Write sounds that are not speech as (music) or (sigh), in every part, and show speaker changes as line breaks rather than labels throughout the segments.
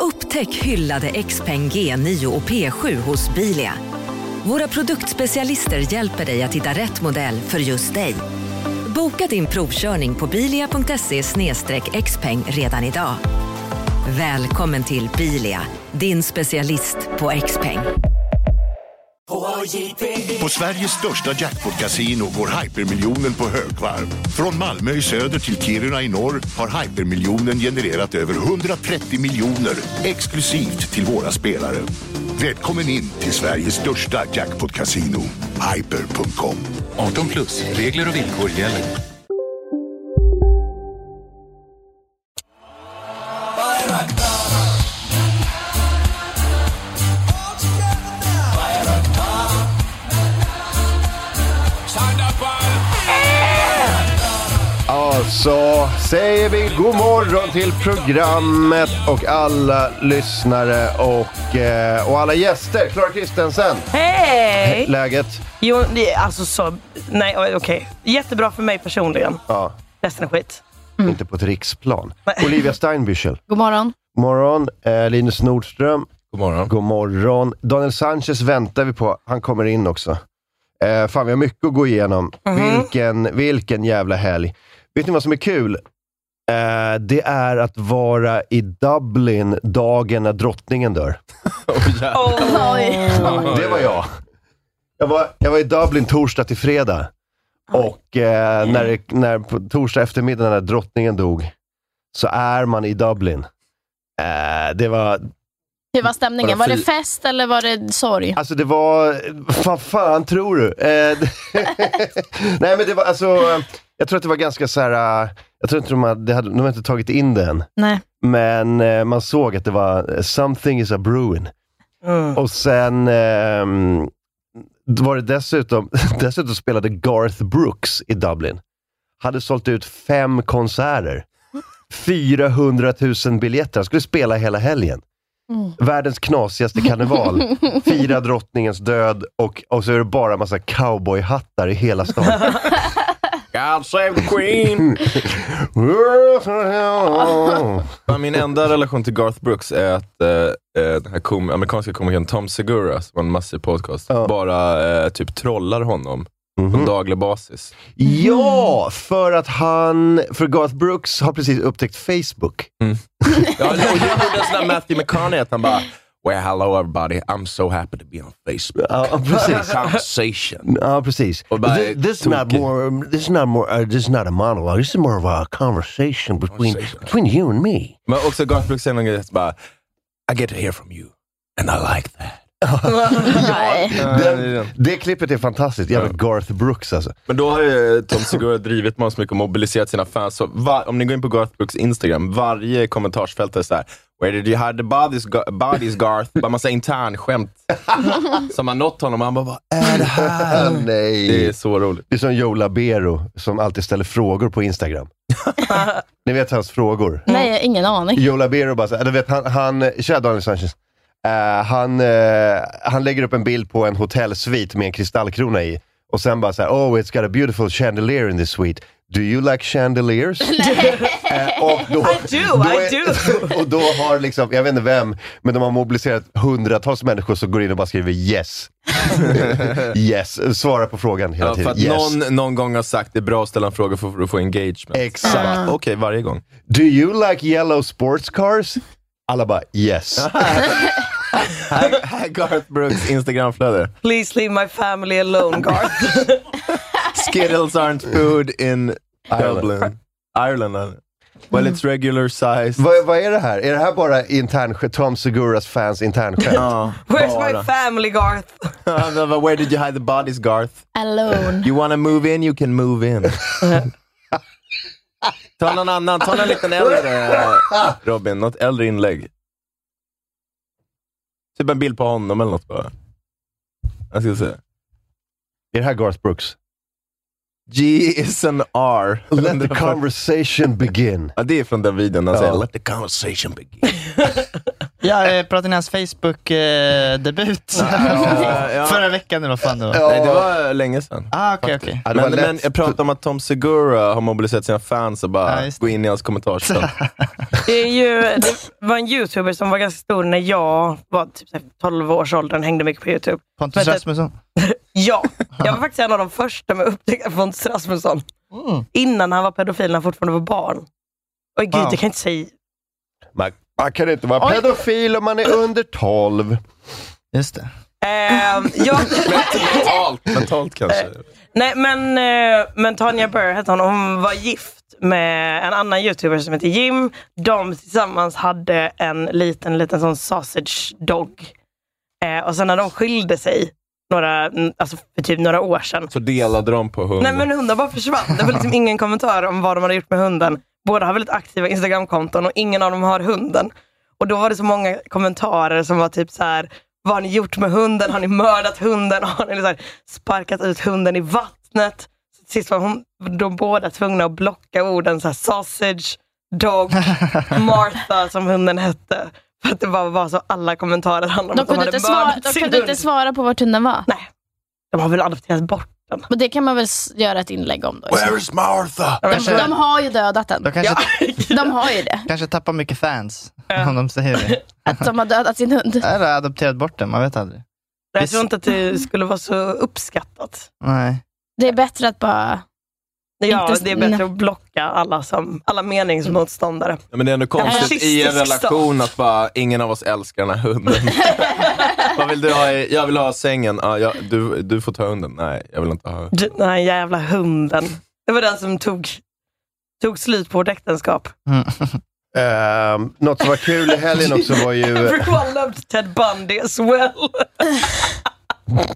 Upptäck hyllade XPeng G9 och P7 hos Bilia. Våra produktspecialister hjälper dig att hitta rätt modell för just dig. Boka din provkörning på bilia.se xpeng redan idag. Välkommen till Bilia, din specialist på XPeng.
På Sveriges största jackpot-kasino går hypermiljonen på högvarv. Från Malmö i söder till Kiruna i norr har hypermiljonen genererat över 130 miljoner exklusivt till våra spelare. Välkommen in till Sveriges största jackpot-kasino, hyper.com.
Oh
18 plus, regler och villkor gäller.
Alltså säger vi god morgon till programmet och alla lyssnare och, eh, och alla gäster. Klara Kristensen,
Hej!
läget?
Jo, det- alltså så... Nej, oj, okej. Jättebra för mig personligen.
Ja,
Resten är skit.
inte på ett riksplan.
Mm. Nej.
Olivia Steinbüchel,
God morgon.
god morgon. Eh, Linus Nordström,
God morgon.
god morgon. Daniel Sanchez väntar vi på. Han kommer in också. Eh, fan, vi har mycket att gå igenom.
Mhm.
Vilken, vilken jävla helg. Vet ni vad som är kul? Eh, det är att vara i Dublin dagen när drottningen dör.
(laughs)
Oh.
Det var jag. Jag var, jag var i Dublin torsdag till fredag. Och eh, när, det- när, på torsdag eftermiddag när drottningen dog, så är man i Dublin. Eh, det var,
Hur var stämningen?
Var
Var
det
det
fy-
fest eller var det sorg?
alltså det var, vad fan tror du? Eh, (laughs) nej men det var alltså, jag tror att det var ganska så här. eh, jag tror inte de hade, de hade, de hade inte tagit in det än.
Nej.
Men eh, man såg att det var, eh, something is a brewing. Och sen ehm, var det dessutom, (laughs) dessutom spelade Garth Brooks i Dublin. Hade sålt ut fem konserter. 400 000 biljetter. Han skulle spela hela helgen. Världens knasigaste karneval. Fira drottningens död och, och så är det bara massa cowboyhattar i hela stan.
(laughs) God save the Queen!
(laughs)
(laughs) Men Min enda relation till Garth Brooks är att eh, eh, den här kom amerikanska komikern Tom Segura, som har en massiv podcast,
Ja.
bara eh, typ trollar honom på
Mhm.
daglig basis. Mm-hmm.
Ja, för att han, för Garth Brooks har precis upptäckt Facebook.
Ja, och jag gjorde en sån där Matthew McConaughey, att han bara Well hello everybody, I'm so happy to be on Facebook.
Ja, (laughs) precis.
Conversation.
Ja, precis.
Och bara,
Th- this, is not
tokig.
more, this is not more, uh, this is not a monologue. This is more of a conversation between,
Conversation.
between you and me.
Men också Garth Brooks säger någon grej, som bara I get to hear from you, and I like that.
Nej.
Ja, det är det.
Det klippet är fantastiskt. Jävla Garth Brooks alltså.
Men då har ju Tom Segura drivit med oss mycket och mobiliserat sina fans. Så va- om ni går in på Garth Brooks Instagram, varje kommentarsfält är såhär Where did you hide the bodies, Ga- bodies Garth? Bara massa internskämt som har nått honom. Och han bara, vad är det här?
Ah, (laughs) nej.
Det är så roligt.
Det är som Joe Labero som alltid ställer frågor
(laughs)
på Instagram. Ni vet hans frågor.
Nej, ingen aning.
Joe Labero bara såhär, du vet han, han kära Daniel Sanchez. Eh, han, eh, han lägger upp en bild på en hotellsvit med en kristallkrona i. Och sen bara såhär, oh it's got a beautiful chandelier in this suite. Do you like
(laughs)
chandeliers? Eh, och då,
I do, I
do. (laughs) Och då har liksom, jag vet inte vem, men de har mobiliserat hundratals människor som går in och bara
(laughs)
skriver yes. yes, svarar på frågan hela
Ja, för
tiden.
att
Yes.
någon, någon gång har sagt det är bra att ställa en fråga för att få engagement.
Exakt.
Så bara, Okej, varje gång.
Do you like yellow sports cars? Alla bara
(laughs)
yes.
Här, här är Garth Brooks Instagramflöde.
Please leave my family
(laughs)
alone, Garth.
Skittles aren't food in Dublin. Ireland. eller? Well it's regular size.
Vad, vad är det här? Är det här bara intern, Tom Seguras fans internskämt?
Ja,
Where's
bara.
my family, Garth?
(laughs) Where did you hide the bodies, Garth?
Alone.
You wanna move in, you can move in. Ta någon annan, ta någon liten äldre eh, Robin, något äldre inlägg. Typ en bild på honom eller något bara. Jag ska se.
Är det här Garth Brooks?
G is an R.
Let the conversation begin.
Ja, det är från den videon när han
(laughs) Ja.
säger “Let the conversation begin”.
Ja, eh, pratade ni hans Facebook-debut?
(laughs) Ja, ja.
Förra veckan eller vad fan det var?
Nej, det var länge sedan.
Ah, okej, okej.
Ja, det var
Men,
lätt.
men jag pratade om att Tom Segura har mobiliserat sina fans och bara
Ja, just det.
gå in i hans
(laughs)
kommentarsfält.
Det, är ju, det var en youtuber som var ganska stor när jag var typ så här 12 års åldern hängde mycket på youtube.
Pontus
Men-
Rasmusson.
(laughs) Ja, jag var faktiskt en av de första med att upptäcka Pontus Rasmusson.
Mm.
Innan han var pedofil, när han fortfarande var barn. Oj gud,
Wow.
det kan jag inte säga.
Man, man kan inte vara
Oj.
pedofil om man är under 12.
Just det.
Ehm, ja,
mentalt, mentalt kanske.
nej, men, eh, men Tanja Burr hette hon. Hon var gift med en annan youtuber som heter Jim. De tillsammans hade en liten, liten sån sausage dog. Eh, och sen när de skilde sig, några, mm, alltså för typ några år sedan,
Så delade de på hund.
Nej men hunden bara försvann. Det var liksom ingen kommentar om vad de hade gjort med hunden. Båda har väldigt aktiva Instagramkonton och ingen av dem har hunden. Och då var det så många kommentarer som var typ så här. Vad har ni gjort med hunden? Har ni mördat hunden? Har ni så här sparkat ut hunden i vattnet? Så sist var hon, de båda tvungna att blocka orden så här, sausage, dog, Martha som hunden hette. För att det bara var så alla kommentarer handlade
De
om att de
kunde,
hade
inte svara,
mördat
de
sin
kunde
hund.
inte svara på vart hunden var.
Nej, de har väl adopterat bort den.
Men det kan man väl s- göra ett inlägg om då.
Where is Martha?
De, de har ju dödat den.
De kanske, (laughs)
De har ju det.
kanske tappar mycket fans, om de säger det.
Att de har dödat sin hund.
Eller adopterat bort den, man vet aldrig.
Jag tror inte att det skulle vara så uppskattat.
Nej.
Det är bättre att bara...
Ja,
Inte-
det är bättre
nej.
att blocka alla, som, alla meningsmotståndare.
Ja, men det är ändå konstigt i en
Fascistisk
relation att bara, ingen av oss älskar den här hunden. Vad vill du ha? i- Jag vill ha sängen. Ja, jag, du, du får ta hunden. Nej, jag vill inte ha.
D- Den här jävla hunden. Det var den som tog, tog slut på vårt äktenskap.
Um, något som var kul i helgen också var ju...
(laughs) Everyone loved Ted Bundy as well.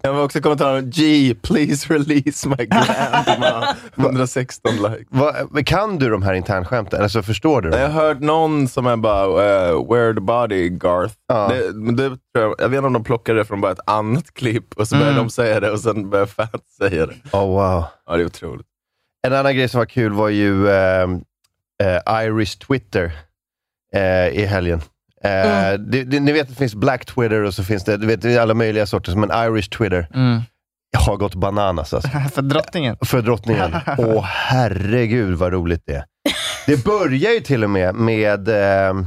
Jag vill också kommentera G, please release my grand. De (laughs) har 116 likes.
Vad, kan du de här internskämten? Alltså förstår du
Jag
dem?
har hört någon som är bara, eh, where the body Garth.
Ja.
Det, men det, tror jag, jag vet inte om de plockade det från bara ett annat klipp och så började de säga det och sen började fans säga det.
Oh, wow.
Ja, det är otroligt.
En annan grej som var kul var ju ehm, eh, Irish Twitter eh, i helgen. Eh,
Mm.
det, det, ni vet, det finns Black Twitter och så finns det, du vet, det är alla möjliga sorter, men Irish Twitter
Mm.
har gått bananas alltså.
För drottningen.
För drottningen. Åh herregud vad roligt det är. Det börjar ju till och med med, ehm,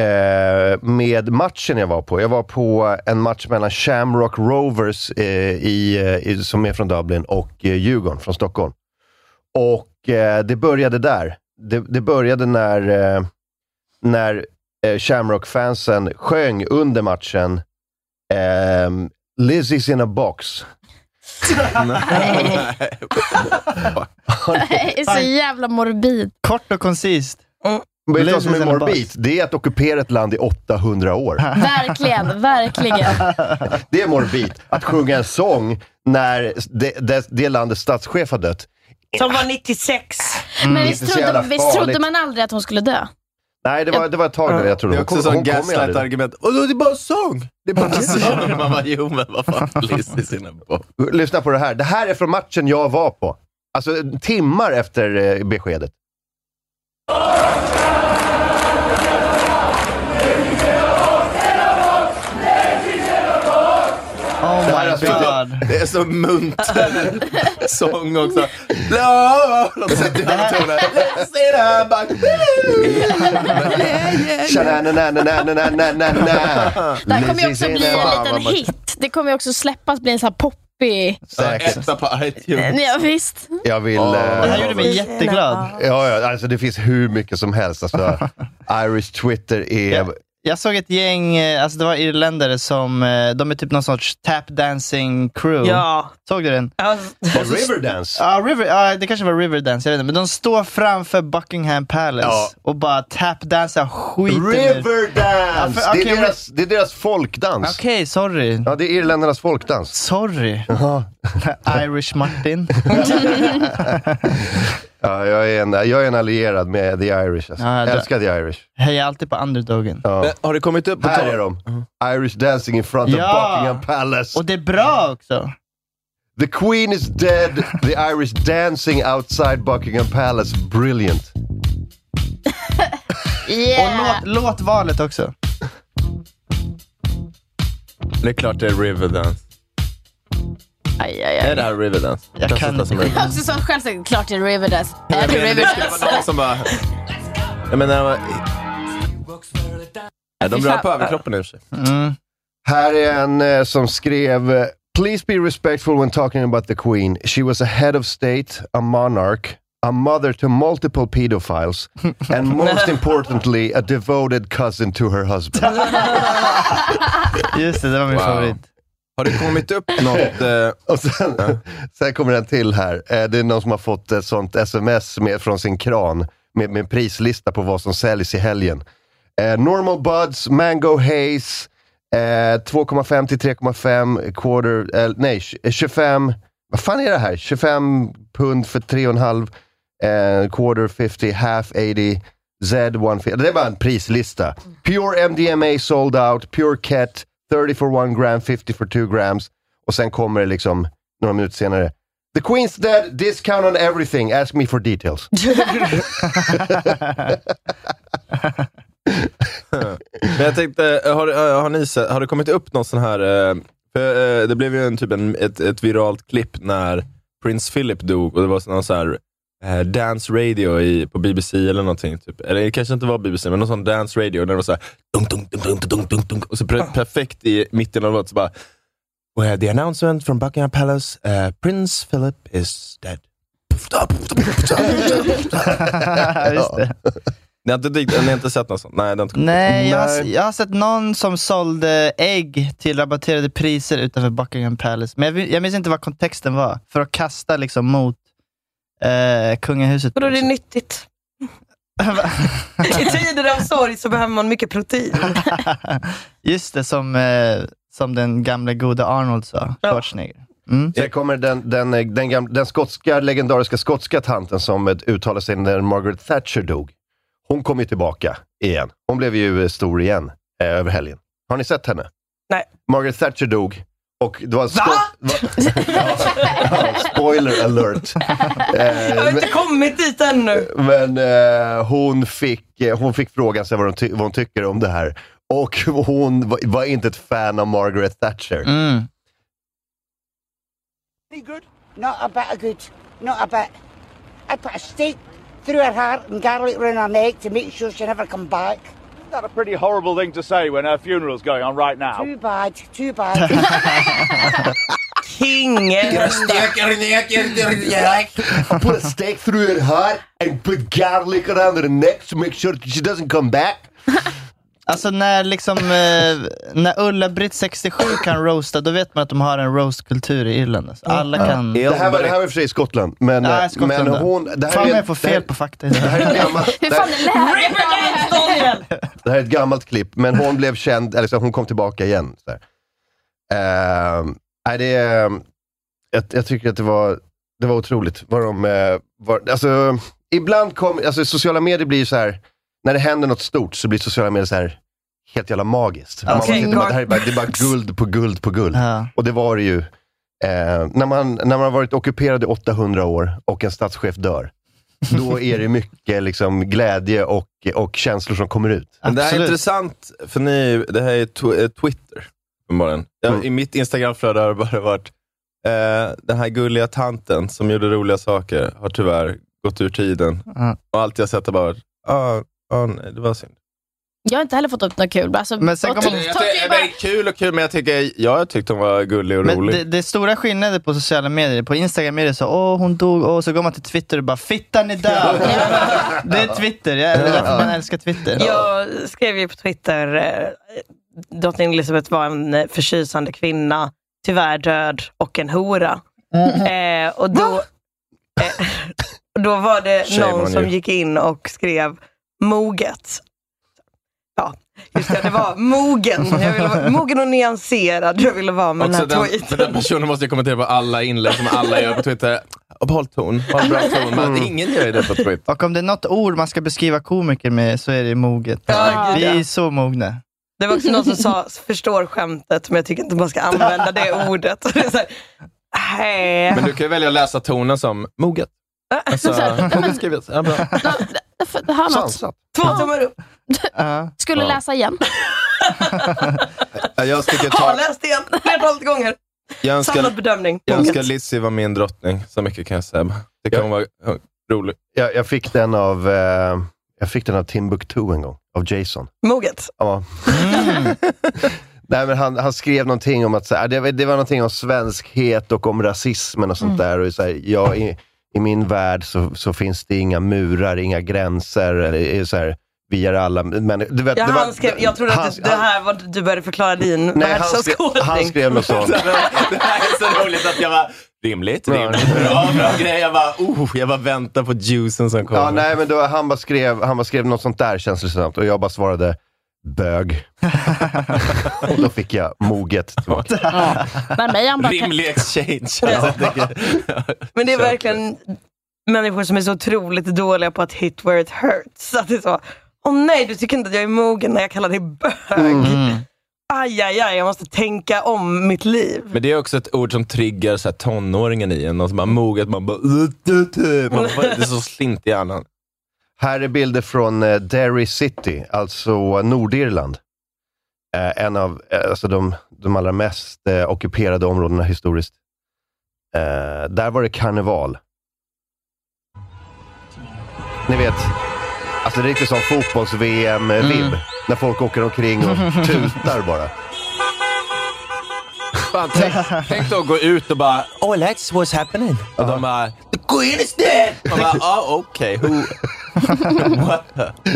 eh, med matchen jag var på. Jag var på en match mellan Shamrock Rovers, eh, i, eh, i, som är från Dublin, och eh, Djurgården från Stockholm. Och eh, det började där. Det, det började när, eh, när eh, Shamrock-fansen sjöng under matchen ehm, “Lizzie's in a box”.
Nej.
Det är så jävla morbid.
Kort och koncist.
Men Vet du vad som
Blazers
är
eller Bucks?
morbid? Det är att ockupera ett land i 800 år.
Verkligen, verkligen.
(laughs) Det är morbid. Att sjunga en sång när det, det, det landets statschef har dött.
Som var 96.
Men
Det är
visst
så jävla
trodde, visst trodde
farligt.
man aldrig att hon skulle dö?
Nej, det var, det var ett tag där jag
Det
trodde
är
hon kom-
också
hon
sånt
kommer ju aldrig.
gaslight-argument. Och då, det är bara sång! Det är bara (laughs) sång. Man bara, jo men vad fan, Liz i sina barn.
Lyssna på det här. Det här är från matchen jag var på. Alltså timmar efter eh, beskedet.
Oh my god.
Det är så munter
(laughs)
sång också. Lord, så döda toner. Liz in a box.
Tja-na-na-na-na-na-na-na-na.
Det här kommer ju också bli
Lizzie Zena.
en
Fan, vad
liten
man-
hit. Det kommer ju också släppas bli en sån här poppig...
Säkert.
Etta på iTunes.
Ja, visst.
Jag vill...
Åh,
eh,
Det här gjorde mig jätteglad.
Ja, ja, alltså det finns hur mycket som helst. Alltså, Irish Twitter är...
Ja. Jag såg ett gäng, eh, alltså det var irländare som, eh, de är typ någon sorts tapdancing crew.
Ja.
Såg du den?
Alltså,
Riverdance.
Ja, River, ja, det kanske var Riverdance, jag vet inte. Men de står framför Buckingham Palace
Ja.
och bara tapdansar skiten ur-
Riverdance!
Ja, för-
det, är
okej,
deras, det är deras folkdans.
Okej, sorry.
Ja, det är irländarnas folkdans.
Mm.
Sorry, Irish Martin.
Ja, jag, är en, jag är en allierad med The Irish. Alltså.
Ja, det-
Älskar The Irish.
Heja alltid på underdogen.
Ja.
Men Har det kommit upp på
Här
tal-
är de. Irish dancing in front of
Ja.
Buckingham Palace.
Och det är bra också.
The Queen is dead. The Irish dancing outside Buckingham Palace. Brilliant.
Och låt, låtvalet också.
Det är klart det är Riverdance.
Aj, aj,
Är
aj.
det här Riverdance?
Jag
Den
kan-
sista som är-
Jag har också sagt själv sagt klart det är Riverdance.
Jag
Är det
menar, det skulle
Riverdance?
vara någon som bara... Jag menar... Nej, de rör på överkroppen i och för sig.
Mm.
Här är en eh, som skrev eh, “Please be respectful when talking about the Queen. She was a head of state, a monarch, a mother to multiple pedophiles,
(laughs)
and most importantly a devoted cousin to her husband.”
Just det, det var min
Wow.
favorit.
Har det kommit upp något... Eh,
Och sen, sen kommer en till här. Eh, Det är någon som har fått ett sånt sms med, från sin kran med, med en prislista på vad som säljs i helgen. Eh, normal buds, mango haze, eh, 2,5 till 3,5 quarter, eh, nej tj- 25, vad fan är det här? 25 pund för 3,5, eh, quarter 50, half 80, Z150. Det är bara en prislista. Pure MDMA sold out, Pure Ket, 30 for 1 gram, 50 for 2 grams. Och sen kommer det liksom några minuter senare. The Queen's dead, discount on everything, ask me for details.
(laughs)
men jag tänkte, eh, har, eh, har, ni sett, har det kommit upp någon sån här... Eh, för, eh, det blev ju en, typ en, ett, ett viralt klipp när prins Philip dog och det var någon sån här eh, dance radio i, på BBC eller någonting. Typ. Eller det kanske inte var BBC, men någon sån dance radio där det var såhär... Dunk, dunk, dunk, dunk, dunk, dunk, dunk, och så pre- perfekt i mitten av låten så bara... Where the announcement from Buckingham Palace, eh, Prince Philip is dead.
Just det.
Ni har inte, dykt- ni har inte sett något sånt? Nej, det har inte kommit
Nej, jag har,
Nej.
jag har sett någon som sålde ägg till rabatterade priser utanför Buckingham Palace. Men jag, vi- jag minns inte vad kontexten var. För att kasta liksom mot eh, kungahuset.
Vadå, det är nyttigt. I tider av sorg så behöver man mycket protein.
Mm. Just det, som, eh, som den gamla goda Arnold sa,
Ja.
Schwarzenegger. Mm.
Sen kommer den, den, den, gam- den skotska, legendariska skotska tanten som eh, uttalade sig när Margaret Thatcher dog. Hon kom ju tillbaka igen. Hon blev ju eh, stor igen eh, över helgen. Har ni sett henne?
Nej.
Margaret Thatcher dog. Och det var en skott-
(laughs)
Va? ja, spoiler alert. Eh,
Jag har
men-
inte kommit
(laughs)
dit ännu.
Men eh, hon, fick, eh, hon fick frågan sig vad hon, ty- vad hon tycker om det här. Och (laughs) hon var, var inte ett fan av Margaret Thatcher.
Mm.
Any good? Not a bit of good. Not a bit. I put a stake through her heart and garlic round her neck to make sure she never come back.
That's a pretty horrible thing to say when her funeral's going on right now.
Too bad. Too bad.
King.
I put a stake through her heart and put garlic around her neck to make sure she doesn't come back.
Alltså när, liksom, eh, när Ulla-Britt 67 kan roasta, då vet man att de har en roastkultur i Irland. Alltså. Alla kan...
Det här, var, det här var i och för sig i Skottland. Men, eh,
Nej, Skottland.
men hon... Det här
Fan
är,
jag får fel
det här,
på fakta.
det här, är ett
(laughs)
gammalt,
Hur
det,
fan
här,
är läget?
det här är ett gammalt klipp, men hon blev känd, eller så hon kom tillbaka igen. Så här. Ehm, nej, det, är- jag, jag tycker att det var, det var otroligt. Vad de, eh, var, alltså, ibland kom, alltså, sociala medier blir ju så här. när det händer något stort så blir sociala medier så här helt jävla magiskt. Man
Okej,
sitter bara, det, här är bara, det är bara guld på guld på guld.
Ja.
Och det var det ju. Eh, när, man, när man har varit ockuperad i 800 år och en statschef dör, då är det mycket liksom, glädje och, och känslor som kommer ut.
Men det här är
Absolut.
intressant, för ni, det här är tw- eh, Twitter. uppenbarligen. Jag,
Mm.
I mitt Instagramflöde har det bara varit, eh, den här gulliga tanten som gjorde roliga saker har tyvärr gått ur tiden.
Ja.
Och allt jag sett har bara varit, ah, ah, nej, det var synd.
Jag har inte heller fått upp något kul. Alltså,
Men sen
och
kommer-
Jag
TikTok
tycker,
är bara...
det är kul och kul, men jag tycker, ja, jag tyckte hon var gullig och
Men
rolig.
det, det är stora skillnader på sociala medier. På Instagram är det så, åh hon dog, åh, så går man till Twitter och bara, fittan är död. det är Twitter, ja, det är därför man älskar Twitter.
Jag skrev ju på Twitter, eh, drottning Elizabeth var en eh, förtjusande kvinna, tyvärr död och en hora.
Mm.
Eh, och då, eh, (laughs) och då var det
Shame on
någon som
you.
gick in och skrev moget. Ja, just det, det var mogen. Jag ville vara, mogen och nyanserad jag ville vara med den
Också
här
den,
tweeten.
den personen måste jag kommentera på alla inlägg som alla gör på Twitter. Håll ton. Håll bra ton. Men ingen gör ju det på Twitter.
Mm. Och om det är något ord man ska beskriva komiker med så är det moget.
Ja,
Vi
gud, ja.
är så mogna.
Det var också någon som sa, förstår skämtet, men jag tycker inte man ska använda det ordet. (laughs) Det är så här, "Hej."
Men du kan ju välja att läsa tonen som moget. Alltså,
Så här,
moget skrivet. Ja, bra.
För det här är något.
Sansat.
Två tummar upp.
Skulle
Ja.
läsa igen.
Ja, Jag tycker
Har
ta,
läst igen flertalet gånger.
jag
Samlad
önskar,
bedömning.
jag önskar
Punkt.
Lizzie var min drottning. Så mycket kan jag säga. Det kan vara ja, roligt.
Jag, jag, fick den av, eh, jag fick den av Timbuktu en gång, av Jason.
Moget.
Ja.
Mm.
(laughs) Nej, men han, han skrev någonting om att så här, det, var- det var någonting om svenskhet och om rasismen och
Mm.
sånt där. Och så här, jag, i, I min värld så, så finns det inga murar, inga gränser. Eller, eh, så här, vi är alla... Men, du vet,
Ja,
det var,
han skrev, jag trodde
han-
att det, det här var, du började förklara din
Nej, han skrev, han
världsåskådning.
skrev något sånt.
(laughs) Det här är så roligt att jag var rimligt, rimligt, bra, bra grej. Jag bara, oh, jag bara väntar på juicen som kommer.
Ja, nej, men då, han, bara skrev, han bara skrev något sånt där känslosamt och jag bara svarade (laughs) bög. och då fick jag moget tillbaka.
Men mig han bara,
Rimlig exchange. Alltså, det,
Men det är
Köper.
verkligen människor som är så otroligt dåliga på att hit where it hurts. Så Att det är så, åh nej, du tycker inte att jag är mogen när jag kallar dig bög.
Mm.
Aj, aj, aj, jag måste tänka om mitt liv.
men det är också ett ord som triggar så här, tonåringen i en. Någon som bara moget, man bara... "Uh, du, du." Man bara det är så slint i hjärnan.
Här är bilder från eh, Derry City, alltså Nordirland. Eh, en av eh, alltså de, de allra mest eh, ockuperade områdena historiskt. Eh, där var det karneval. Ni vet, alltså det är riktigt som eh, fotbolls-VM-vibb. När folk åker omkring (laughs) och tutar bara.
Fan, tänk, tänk då att gå ut och bara, oh Alex, what's happening? Och de bara, the queen is dead! Man bara, ah okej, who... What the?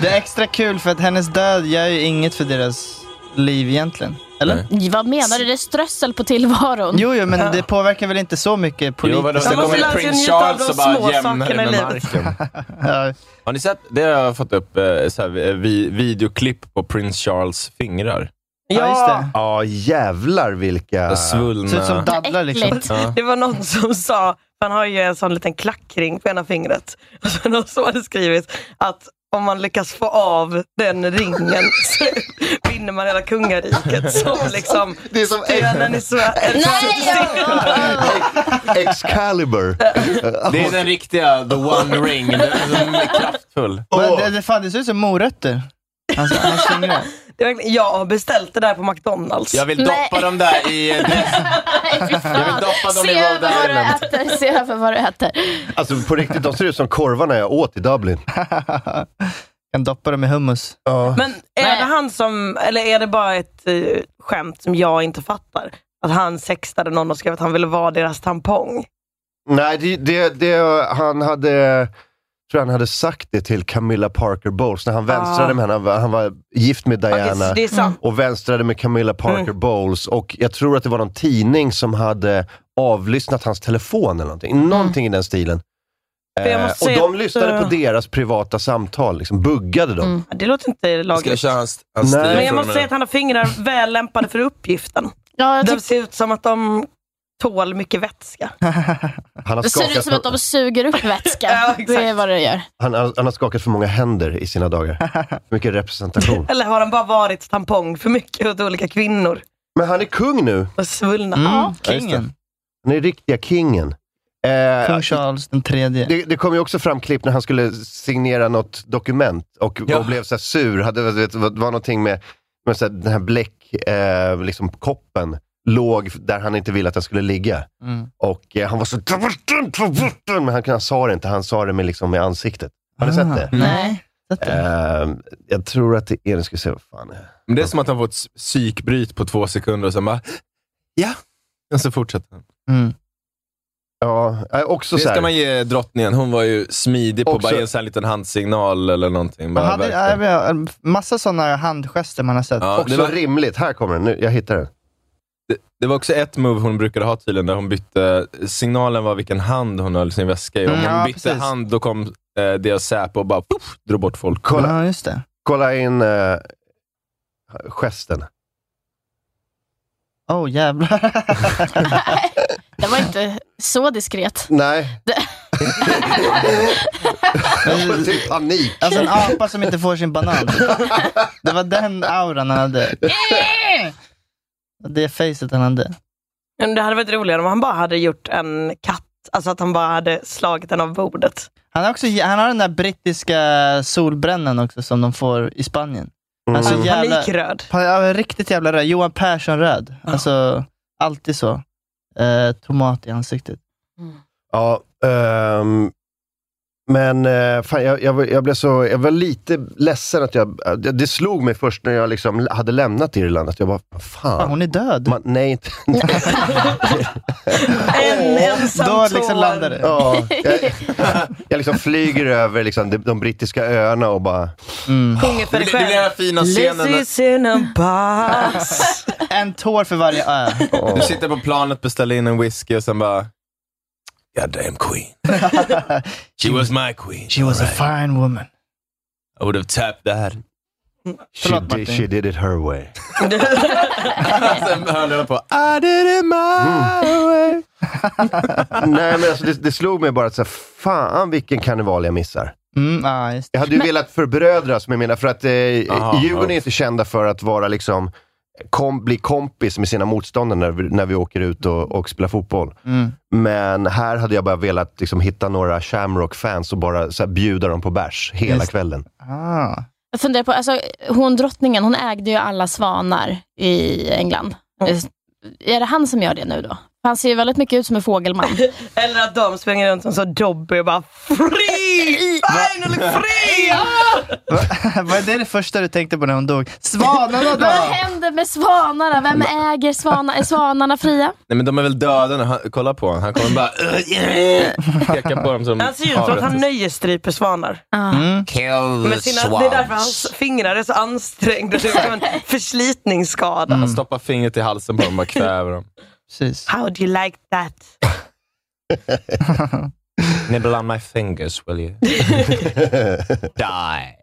Det är extra kul för att hennes död gör ju inget för deras liv egentligen. Eller?
Nej.
vad menar du? Det är strössel på tillvaron.
Jo, jo, men det påverkar väl inte så mycket
Jo, vadå,
politiskt?
sen
Man måste
kommer
lära sig
prins
njuta av
Charles
de
och bara
små
jämnar det
sakerna i
med
livet.
marken.
(laughs)
Ja.
Har ni sett, det har jag fått upp, eh, så här, vi, videoklipp på prins Charles fingrar.
ja, just det.
Ja, jävlar vilka...
Ser ut som
Svullna.
dadlar liksom.
Äckligt.
Ja.
Det var någon som sa, man har ju en sån liten klackring på ena fingret. Och så någon som hade skrivit att om man lyckas få av den ringen så vinner man hela kungariket som liksom
Det är som
stenen i Sverige.
Excalibur.
Det är den riktiga, the one ring. Den är så kraftfull.
Men det, det, fan, det ser ut som morötter. Hans, hans fingrar.
Det är verkligen- Jag har beställt det där på McDonalds.
Jag vill
Nej.
doppa dem där i... Det,
Nej, fy
Jag vill
fan.
doppa dem
Se
i
över
Rhode
vad du
Island.
äter. Se över vad du äter.
(laughs) Alltså på riktigt, de ser ut som korvarna jag åt i Dublin.
kan doppa dem i hummus.
Ja.
Men är
Nej.
det han som, eller är det bara ett eh, skämt som jag inte fattar? Att han sextade någon och skrev att han ville vara deras tampong.
Nej, det, det, det, han hade... Jag tror han hade sagt det till Camilla Parker Bowles när han vänstrade
Ah.
med henne. Han var, han var gift med
Okej,
Diana
så det Mm. är sant.
och vänstrade med Camilla Parker Bowles. Och jag tror att det var någon tidning som hade avlyssnat hans telefon eller någonting. Någonting i den stilen.
Mm. För jag
Eh,
måste
och
säga
de
att,
lyssnade på
eh, Mm.
deras privata samtal, liksom buggade dem.
Det låter inte
ska jag
lagligt.
köra hans, hans
Nej.
stil
Men jag
från och
måste
med
säga
nu?
att han har fingrar väl lämpade för uppgiften.
Ja, jag
De
tyck-
ser ut som att de tål mycket vätska.
Han har,
det ser ut
skakat,
som att de suger upp
Ja,
vätska.
exakt.
Det är vad det gör.
han, har- han har skakat för många händer i sina dagar.
(laughs)
För mycket representation.
Eller har han bara varit tampong för mycket åt olika kvinnor
Men han är kung nu.
och svullna?
Mm, kingen.
Han är riktiga kingen. Eh,
Kung Charles den tredje.
det, det kom ju också fram klipp när han skulle signera något dokument och,
Ja.
och blev så här sur. Hade, vet, det var någonting med, med så här, den här bläckkoppen eh, liksom, koppen låg där han inte ville att den skulle ligga.
Mm.
Och eh, han var så ta bort den, ta bort den! Men han, han sa det inte, han sa det med, liksom, med ansiktet. Har ni
Ah,
sett det?
Nej. Sett det?
Eh, jag tror att det är, nu ska vi se vad fan det är.
Men det är som att han får ett psykbryt på två sekunder och sen bara, ja. Och så fortsätter han.
Mm.
Ja, eh, också
Det
så
ska
här.
man ge drottningen. Hon var ju smidig på att
Också-
bara ge en sån här liten handsignal eller någonting.
Man
Bara,
hade,
verkligen.
ja, ja, massa sådana Eh, handgester man har sett.
Ja,
Också
det, var,
rimligt. Här kommer den. Nu, jag hittar den.
det var också ett move hon brukade ha tydligen, där hon bytte, signalen var vilken hand hon höll sin väska i. Om
Mm,
hon
ja,
bytte
precis.
hand, då kom eh, deras Säpo och bara puff, drog bort folk.
Kolla.
Ja, just det.
Kolla in eh, gesten.
Oh, jävlar.
Nej, det var inte så diskret.
Nej. (laughs)
Men-
Typ panik.
Alltså en apa som inte får sin banan. Det var den auran han hade. Det facet han hade.
Men det hade varit roligare om han bara hade gjort en katt. Alltså att han bara hade slagit den av bordet.
Han, har också, han har den där brittiska solbrännan också som de får i Spanien.
Mm.
Alltså
Ja,
jävla-
panikröd.
Pa, ja, riktigt jävla röd. Johan Persson-röd. Alltså, alltid så. Eh, tomat i ansiktet.
Ja, ehm, men eh, fan, jag, jag, var- jag blev så, jag var lite ledsen att jag, eh, det, det slog mig först när jag liksom hade lämnat Irland, att jag bara, fan.
hon är död.
Man, nej, inte. (laughs)
En ensam
Då
tår.
liksom landade det.
Ja, jag, jag liksom flyger över liksom, de, de brittiska öarna och bara...
Mm.
Sjunger för dig
Det- det blir
själv.
den här fina scenen när-
This is in a box.
(laughs) En tår för varje ö.
Du sitter på planet, beställer in en whisky och sen bara... God
(laughs)
damn queen. She was my queen.
She was a fine woman.
I would have tapped that.
She, did, she did it her way.
sen hörde jag på...
I did it my
Mm.
way.
Nej, men alltså, det, det slog mig bara att så här, fan vilken karneval jag missar.
Mm, ah, just. det.
Jag hade ju velat förbrödras med mina, för att eh,
Aha,
Djurgården
ja.
är inte kända för att vara liksom, kom, bli kompis med sina motståndare när vi, när vi åker ut och, och spelar fotboll.
Mm.
Men här hade jag bara velat liksom, hitta några Shamrock-fans och bara så här, bjuda dem på bärs hela
Just.
kvällen.
Ah.
Jag funderar på, alltså, hon drottningen, hon ägde ju alla svanar i England. Eh, Är det han som gör det nu då? Han ser ju väldigt mycket ut som en fågelman.
Eller att de springer runt som så Dobby och bara free! Finally free!
Vad är det, det första du tänkte på när hon dog? Svanarna
Vad
då?
händer med svanarna? Vem äger svanarna? Är svanarna fria?
Mm. Nej men de är väl döda nu. Han, kolla på honom. Han kommer bara... Peka på dem som...
Han ser ju ut som att han nöjesstryper svanar. Men sina, det är därför hans fingrar är så ansträngda. Det är som en förslitningsskada.
Han stoppar fingret i halsen på dem och bara kväver dem.
Precis.
How do you like that? Mm.
Nibble on my fingers will
(laughs)
you? Die.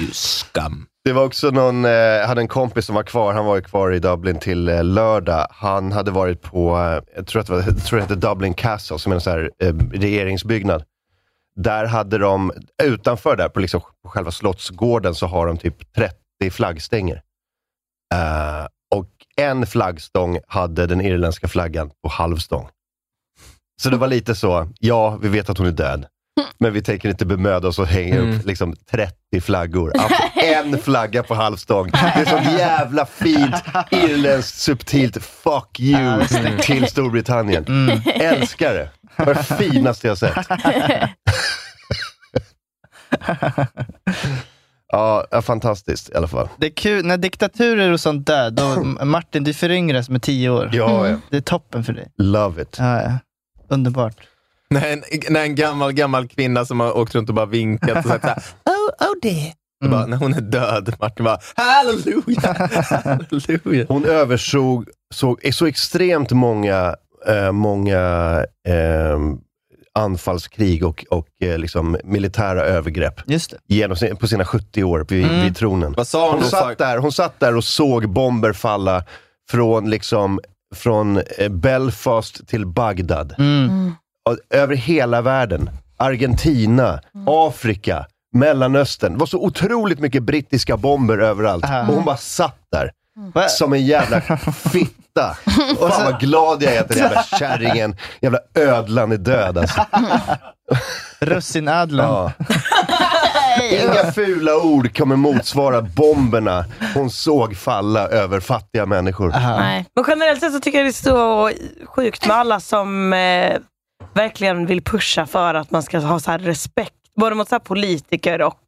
You scum.
Det var också någon, eh, jag hade en kompis som var kvar, han var ju kvar i Dublin till eh, lördag. Han hade varit på, eh, jag tror att det, var, (laughs) jag tror det hette Dublin Castle, som är en sån här, eh, regeringsbyggnad. Där hade de, utanför där, på, liksom, på själva slottsgården, så har de typ 30 flaggstänger. Eh, och en flaggstång hade den irländska flaggan på halvstång. Så det var lite så, ja, vi vet att hon är död, men vi tänker inte bemöda oss och hänga upp liksom 30 flaggor. Att en flagga på halvstång. Det är sånt jävla fint, irländskt, subtilt fuck you till Storbritannien. Älskar det. Det var det finaste jag (laughs) sett. Ja, ja, fantastiskt i alla fall.
Det är kul, när diktaturer och sånt där, då, Martin du föryngras med tio år.
Ja, ja.
Det är toppen för dig.
Mm. Love it.
Ja, ja. Underbart.
(laughs) När en, när en gammal, gammal kvinna som har åkt runt och bara vinkat och sagt såhär, (laughs) oh, oh dear. Och
Mm.
Bara, när hon är död, Martin bara, halleluja,
(laughs)
halleluja.
Hon översåg såg, så extremt många, eh, många eh, anfallskrig och, och eh, liksom militära övergrepp
Just det.
genom, sin- på sina 70 år vid, vid tronen.
Vad sa hon
Hon
då?
satt, där, hon satt där och såg bomber falla från, liksom, från eh, Belfast till Bagdad. Och Över hela världen. Argentina, Afrika, Mellanöstern. Det var så otroligt mycket brittiska bomber överallt.
Ah.
Och hon bara satt där.
Va?
Som en jävla fitta. Fan vad glad jag är att den jävla kärringen, jävla ödlan är död alltså.
Russinödlan.
Ja. Inga fula ord kommer motsvara bomberna hon såg falla över fattiga människor.
Nej.
Men generellt sett så tycker jag det är så sjukt med alla som eh, verkligen vill pusha för att man ska ha så här respekt. Både mot så här politiker och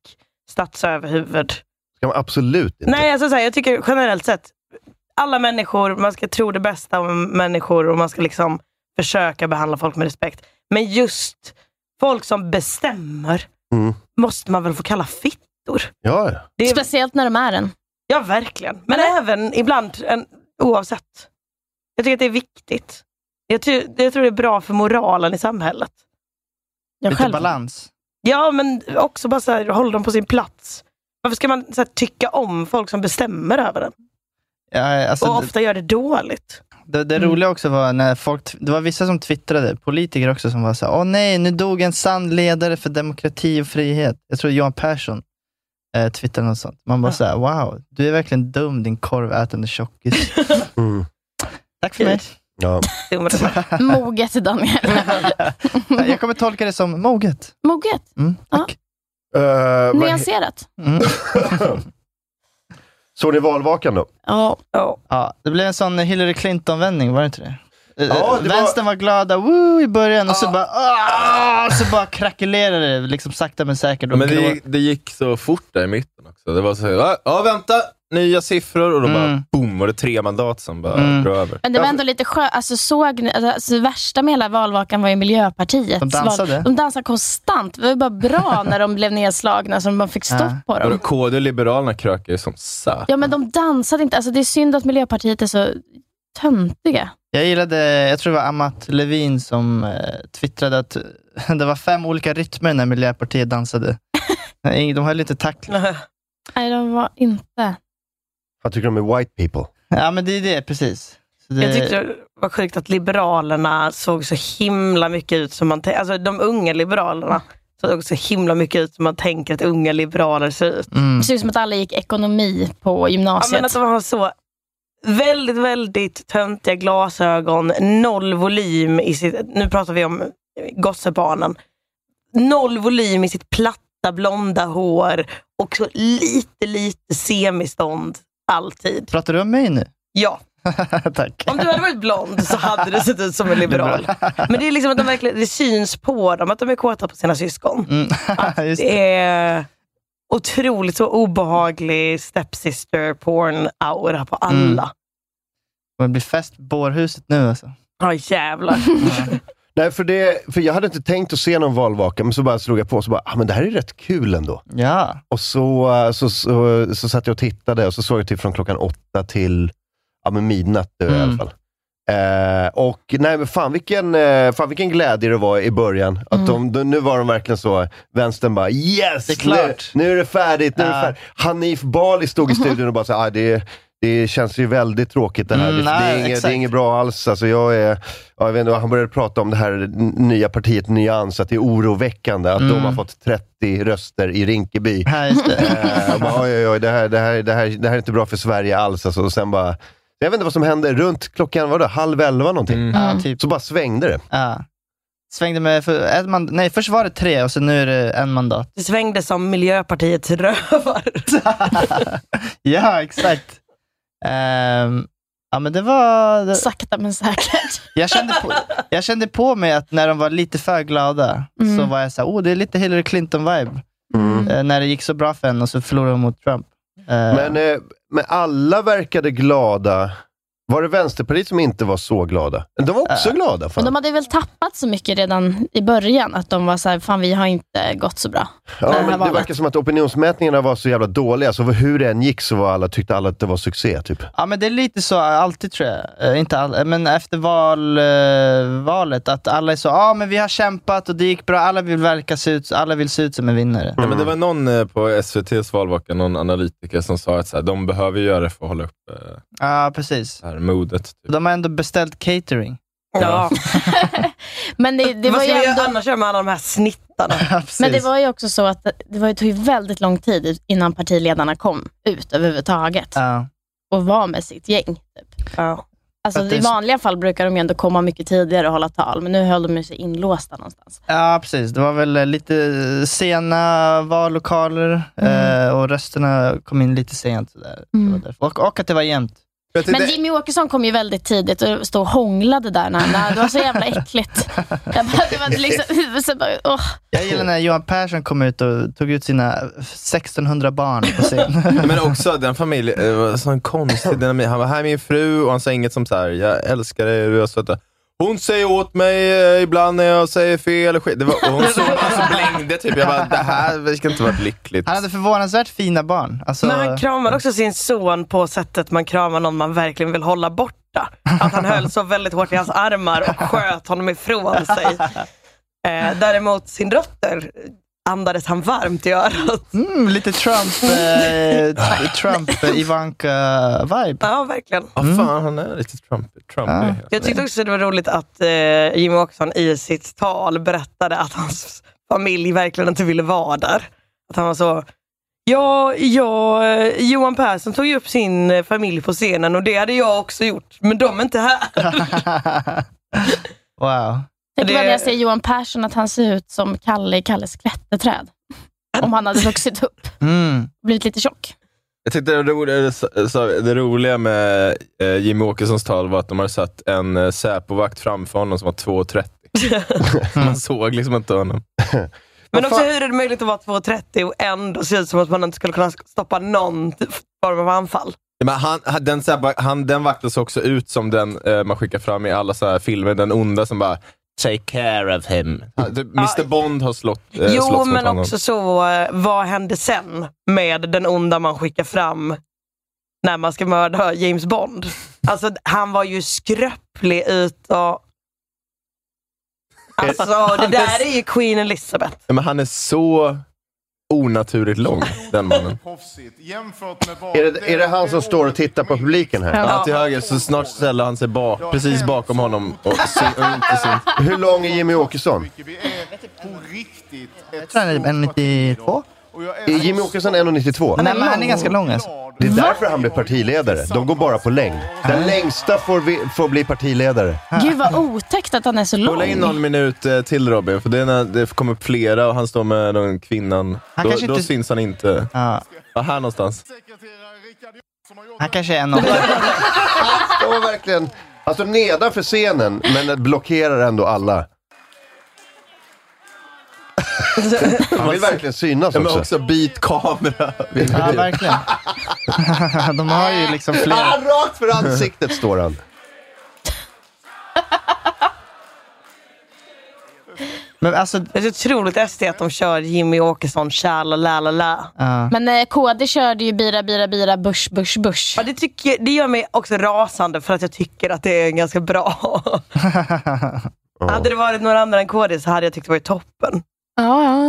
statsöverhuvud.
Ska man absolut inte.
Nej, alltså så här, jag tycker generellt sett, alla människor, man ska tro det bästa om människor och man ska liksom försöka behandla folk med respekt. Men just folk som bestämmer
Mm.
måste man väl få kalla fittor?
Ja, ja.
Det är,
Speciellt när de är en.
ja, verkligen. Men även ibland, en, oavsett. Jag tycker att det är viktigt. Jag, ty, jag tror det är bra för moralen i samhället.
Jag
Lite
själv.
balans.
Ja, men också bara så här, håll dem på sin plats. Varför ska man så här, tycka om folk som bestämmer över en?
Ja, alltså,
Och ofta gör det dåligt.
Det, det
Mm.
roliga också var när folk, det var vissa som twittrade, politiker också, som var så här, åh nej, nu dog en sann ledare för demokrati och frihet. Jag tror Johan Persson eh, twittrade något sånt. Man bara så här, wow, du är verkligen dum din korvätande tjockis. Tack för mig.
Ja.
Moget Daniel.
(laughs) Jag kommer tolka det som moget.
Moget.
Mm,
tack.
Ja.
Ja. Nyanserat.
(laughs) Såg ni valvakan då?
Ja.
Ja, det blev en sån Hillary Clinton-vändning, var det inte det? Eh,
Ja, det var-
Vänstern var, glada woo, i början och så bara "Ah!" så bara krackelerade det liksom sakta men säkert. Och
Men det,
grå-
gick- det gick så fort där i mitten också. Det var så här, "Ja, ja vänta, nya siffror och då bara boom, var det tre mandat som bara
Mm.
drog över.
Men det var ändå lite skönt. Alltså, såg ni, alltså, det värsta med hela valvakan var ju Miljöpartiet.
De dansade.
De dansade konstant. Det var ju bara bra
(laughs)
när de blev nedslagna, så man fick stopp på
Och då
dem.
KD och Liberalerna krökar ju som satan.
Ja, men de dansade inte. Alltså, det är synd att Miljöpartiet är så töntiga.
Jag gillade, jag tror det var Amat Levin som eh, twittrade att (laughs) det var fem olika rytmer när
(laughs)
Miljöpartiet dansade. Nej, De höll inte takt.
Nej, de var inte...
Vad tycker du om white people?
Ja, men det är det, precis. Så det-
Jag tyckte det var sjukt att Liberalerna såg så himla mycket ut som man tänker. Alltså de unga Liberalerna såg så himla mycket ut som man tänker att unga liberaler ser ut.
Mm.
Det ser ut som att alla gick ekonomi på
Ja,
gymnasiet.
men att de har så väldigt, väldigt töntiga glasögon, noll volym i sitt, nu pratar vi om gossebarnen, noll volym i sitt platta blonda hår och så lite, lite semistånd alltid.
Pratar du om mig nu?
Ja.
(laughs) Tack.
Om du hade varit blond så hade du sett ut som
(laughs)
en liberal. Men det är liksom att de verkligen, det syns på dem att de är kåta på sina syskon.
Mm. Just det.
Det är otroligt så obehaglig stepsister porn-aura på alla.
Mm. Det blir fest på bårhuset nu alltså.
Ja, jävlar.
Nej, för, det, för jag hade inte tänkt att se någon valvaka, men så bara slog jag på och så bara, ah, men det här är rätt kul ändå.
Ja.
Och så, eh, så, så, så, satt jag och tittade och så såg jag typ från klockan åtta till ja, men midnatt nu, i alla
Mm.
fall. Eh, och nej, men fan vilken, eh, fan vilken glädje det var i början. Att de, de, nu var de verkligen så, vänstern bara yes!
Mm. Det är klart."
Nu, nu är det färdigt, nu är det
Ja.
färdigt. Hanif Bali
(laughs)
stod i studion och bara så, ah, det, det känns ju väldigt tråkigt det här.
Mm,
det, det,
nej,
är inget, det är
exakt.
inget bra alls. Alltså, jag är, ja, jag vet inte, han började prata om det här n- nya partiet Nyans, att det är oroväckande att de
Mm.
har fått 30 röster i Rinkeby.
Ja, just det.
Eh, och bara, oj, oj, oj, det här, det, här, det, här, det här är inte bra för Sverige alls. Alltså, och sen bara, jag vet inte vad som hände, runt klockan vadå, halv elva någonting.
Mm. (laughs)
Ja, typ.
Så bara svängde
Eh,
det.
Ja. Svängde med, för, ett mand- nej först var det tre och så nu är det en mandat.
Det svängde som Miljöpartiets rövar.
Ja, exakt. Ehm, ja, men det var... Det,
Sakta men säkert.
jag, kände på, jag kände på mig att när de var lite för glada
Mm.
så var jag såhär, oh det är lite Hillary Clinton-vibe. Eh, när det gick så bra för henne och så förlorade hon mot Trump. Eh,
(laughs) Men, eh, men alla verkade glada. Var det Vänsterpartiet som inte var så glada? De var också
Äh,
glada.
Men de
Fan.
hade väl tappat så mycket redan i början att de var så här, fan vi har inte gått så bra.
Ja,
det här
men det
valet.
verkar som att opinionsmätningarna var så jävla dåliga, så hur det än gick så var alla, tyckte alla att det var succé. Typ.
Ja, men det är lite så alltid tror jag. Eh, inte all, eh, men efter val, eh, valet, att alla är så, ja ah, men vi har kämpat och det gick bra, alla vill verka se ut, alla vill se ut som en vinnare.
Nej, men det var någon eh, på SVTs valvaka, någon analytiker, som sa att så här, de behöver göra det för att hålla upp eh,
Ja, precis.
det här modet. Typ.
De har ändå beställt catering.
Ja.
Men det, det
Vad
var ju
ska vi göra
ändå...
annars med alla de här snittarna?
Men det var ju också så att det var ju, tog ju väldigt lång tid innan partiledarna kom ut överhuvudtaget
Ja.
och var med sitt gäng. typ.
Ja.
Att
Alltså,
det
I
är-
vanliga fall brukar de ju ändå komma mycket tidigare och hålla tal, men nu höll de ju sig inlåsta någonstans.
ja, precis. Det var väl eh, lite sena vallokaler eh, och rösterna kom in lite sent. så Där. Det var därför. Och, och att det var jämnt.
Jag
Men
tyckte-
Jimmy Åkesson kom ju väldigt tidigt och stod och hånglade där. När, när, det var så jävla äckligt. Jag bara, det var
(laughs)
liksom, så bara, åh.
Jag gillar när Johan Persson kom ut och tog ut sina 1600 barn på scen.
Nej, Men också den familjen, det var en sån konstig dynamik. Han var här min fru och han sa inget som så här, jag älskar dig, du är söt. Hon säger åt mig eh, ibland när jag säger fel och skit. Det var, och hon såg alltså blängde typ. Jag bara, det här ska inte varit lyckligt.
Han hade förvånansvärt fina barn. Alltså,
Men han kramar också sin son på sättet man kramar någon man verkligen vill hålla borta. Att han höll så väldigt hårt i hans armar och sköt honom ifrån sig. Eh, däremot sin dotter andades han varmt i örat.
Mm, lite Trump, eh, Trump eh, Ivanka-vibe.
Ja, verkligen.
Ja, fan, han är lite Trump. Trump
Ja.
Jag tyckte också det var roligt att eh, Jimmy Åkesson i sitt tal berättade att hans familj verkligen inte ville vara där. Att han var så, ja, ja eh, Johan Persson tog ju upp sin eh, familj på scenen och det hade jag också gjort, men de är inte här.
Wow.
Tänk
Det-
det... när jag ser Johan Persson att han ser ut som Kalle i Kalles klätterträd. Om han hade vuxit upp
Mm.
och blivit lite tjock.
Jag tyckte det roliga, så- det roliga med eh, Jimmy Åkessons tal var att de hade satt en eh, Säpo-vakt framför honom som var
(laughs)
2,30. Man såg liksom inte honom.
Men också hur är det möjligt att vara 2,30 och ändå se ut som att man inte skulle kunna stoppa någon form av anfall?
Ja, Men han, han- den, så här, bara- han, den vaktas också ut som den eh, man skickar fram i alla så här filmer, den onda som bara “Take care of him”. Ja, (laughs) typ, Mr Bond har slått, eh,
jo,
slåtts mot
men
honom.
också så, eh, vad hände sen med den onda man skickar fram när man ska mörda James Bond? Alltså, han var ju skröplig utav... Alltså, det där är ju Queen Elizabeth.
Ja, Men han är så onaturligt lång, den
(laughs)
mannen.
Är det, är det han som står och tittar på publiken här?
Ja, till höger, så snart ställer han sig bak, precis bakom honom. Och syn, och inte (laughs) syn.
Hur lång är Jimmy Åkesson?
Jag tror han är 1,92.
Är Jimmy Åkesson 1,92?
Han är, men han är ganska lång alltså.
Det är därför han blir partiledare. De går bara på längd. Den längsta får, vi, får bli partiledare.
Gud vad otäckt att han är så lång.
Hålla in någon minut eh, till Robin, för det är när det kommer upp flera och han står med den kvinnan.
Han
då
kanske
då
inte-
syns han inte.
Ja.
Ja, här någonstans.
Han kanske är en av
De är verkligen... Alltså nedanför scenen, men blockerar
(laughs)
ändå alla. Han vill verkligen synas
Ja, men
också.
också byt kamera.
Ja, verkligen. De har ju liksom flera.
Ah, rakt för ansiktet står han.
Men alltså,
Det är så otroligt SD att de kör Jimmy Åkesson, tja la la la la.
ja.
Men eh, KD körde ju bira, bira, bira, bush, bush, bush.
Ja, det, tycker, det gör mig också rasande för att jag tycker att det är
(laughs)
ganska bra. Hade det varit några andra än KD så hade jag tyckt det var toppen.
Ja, ja,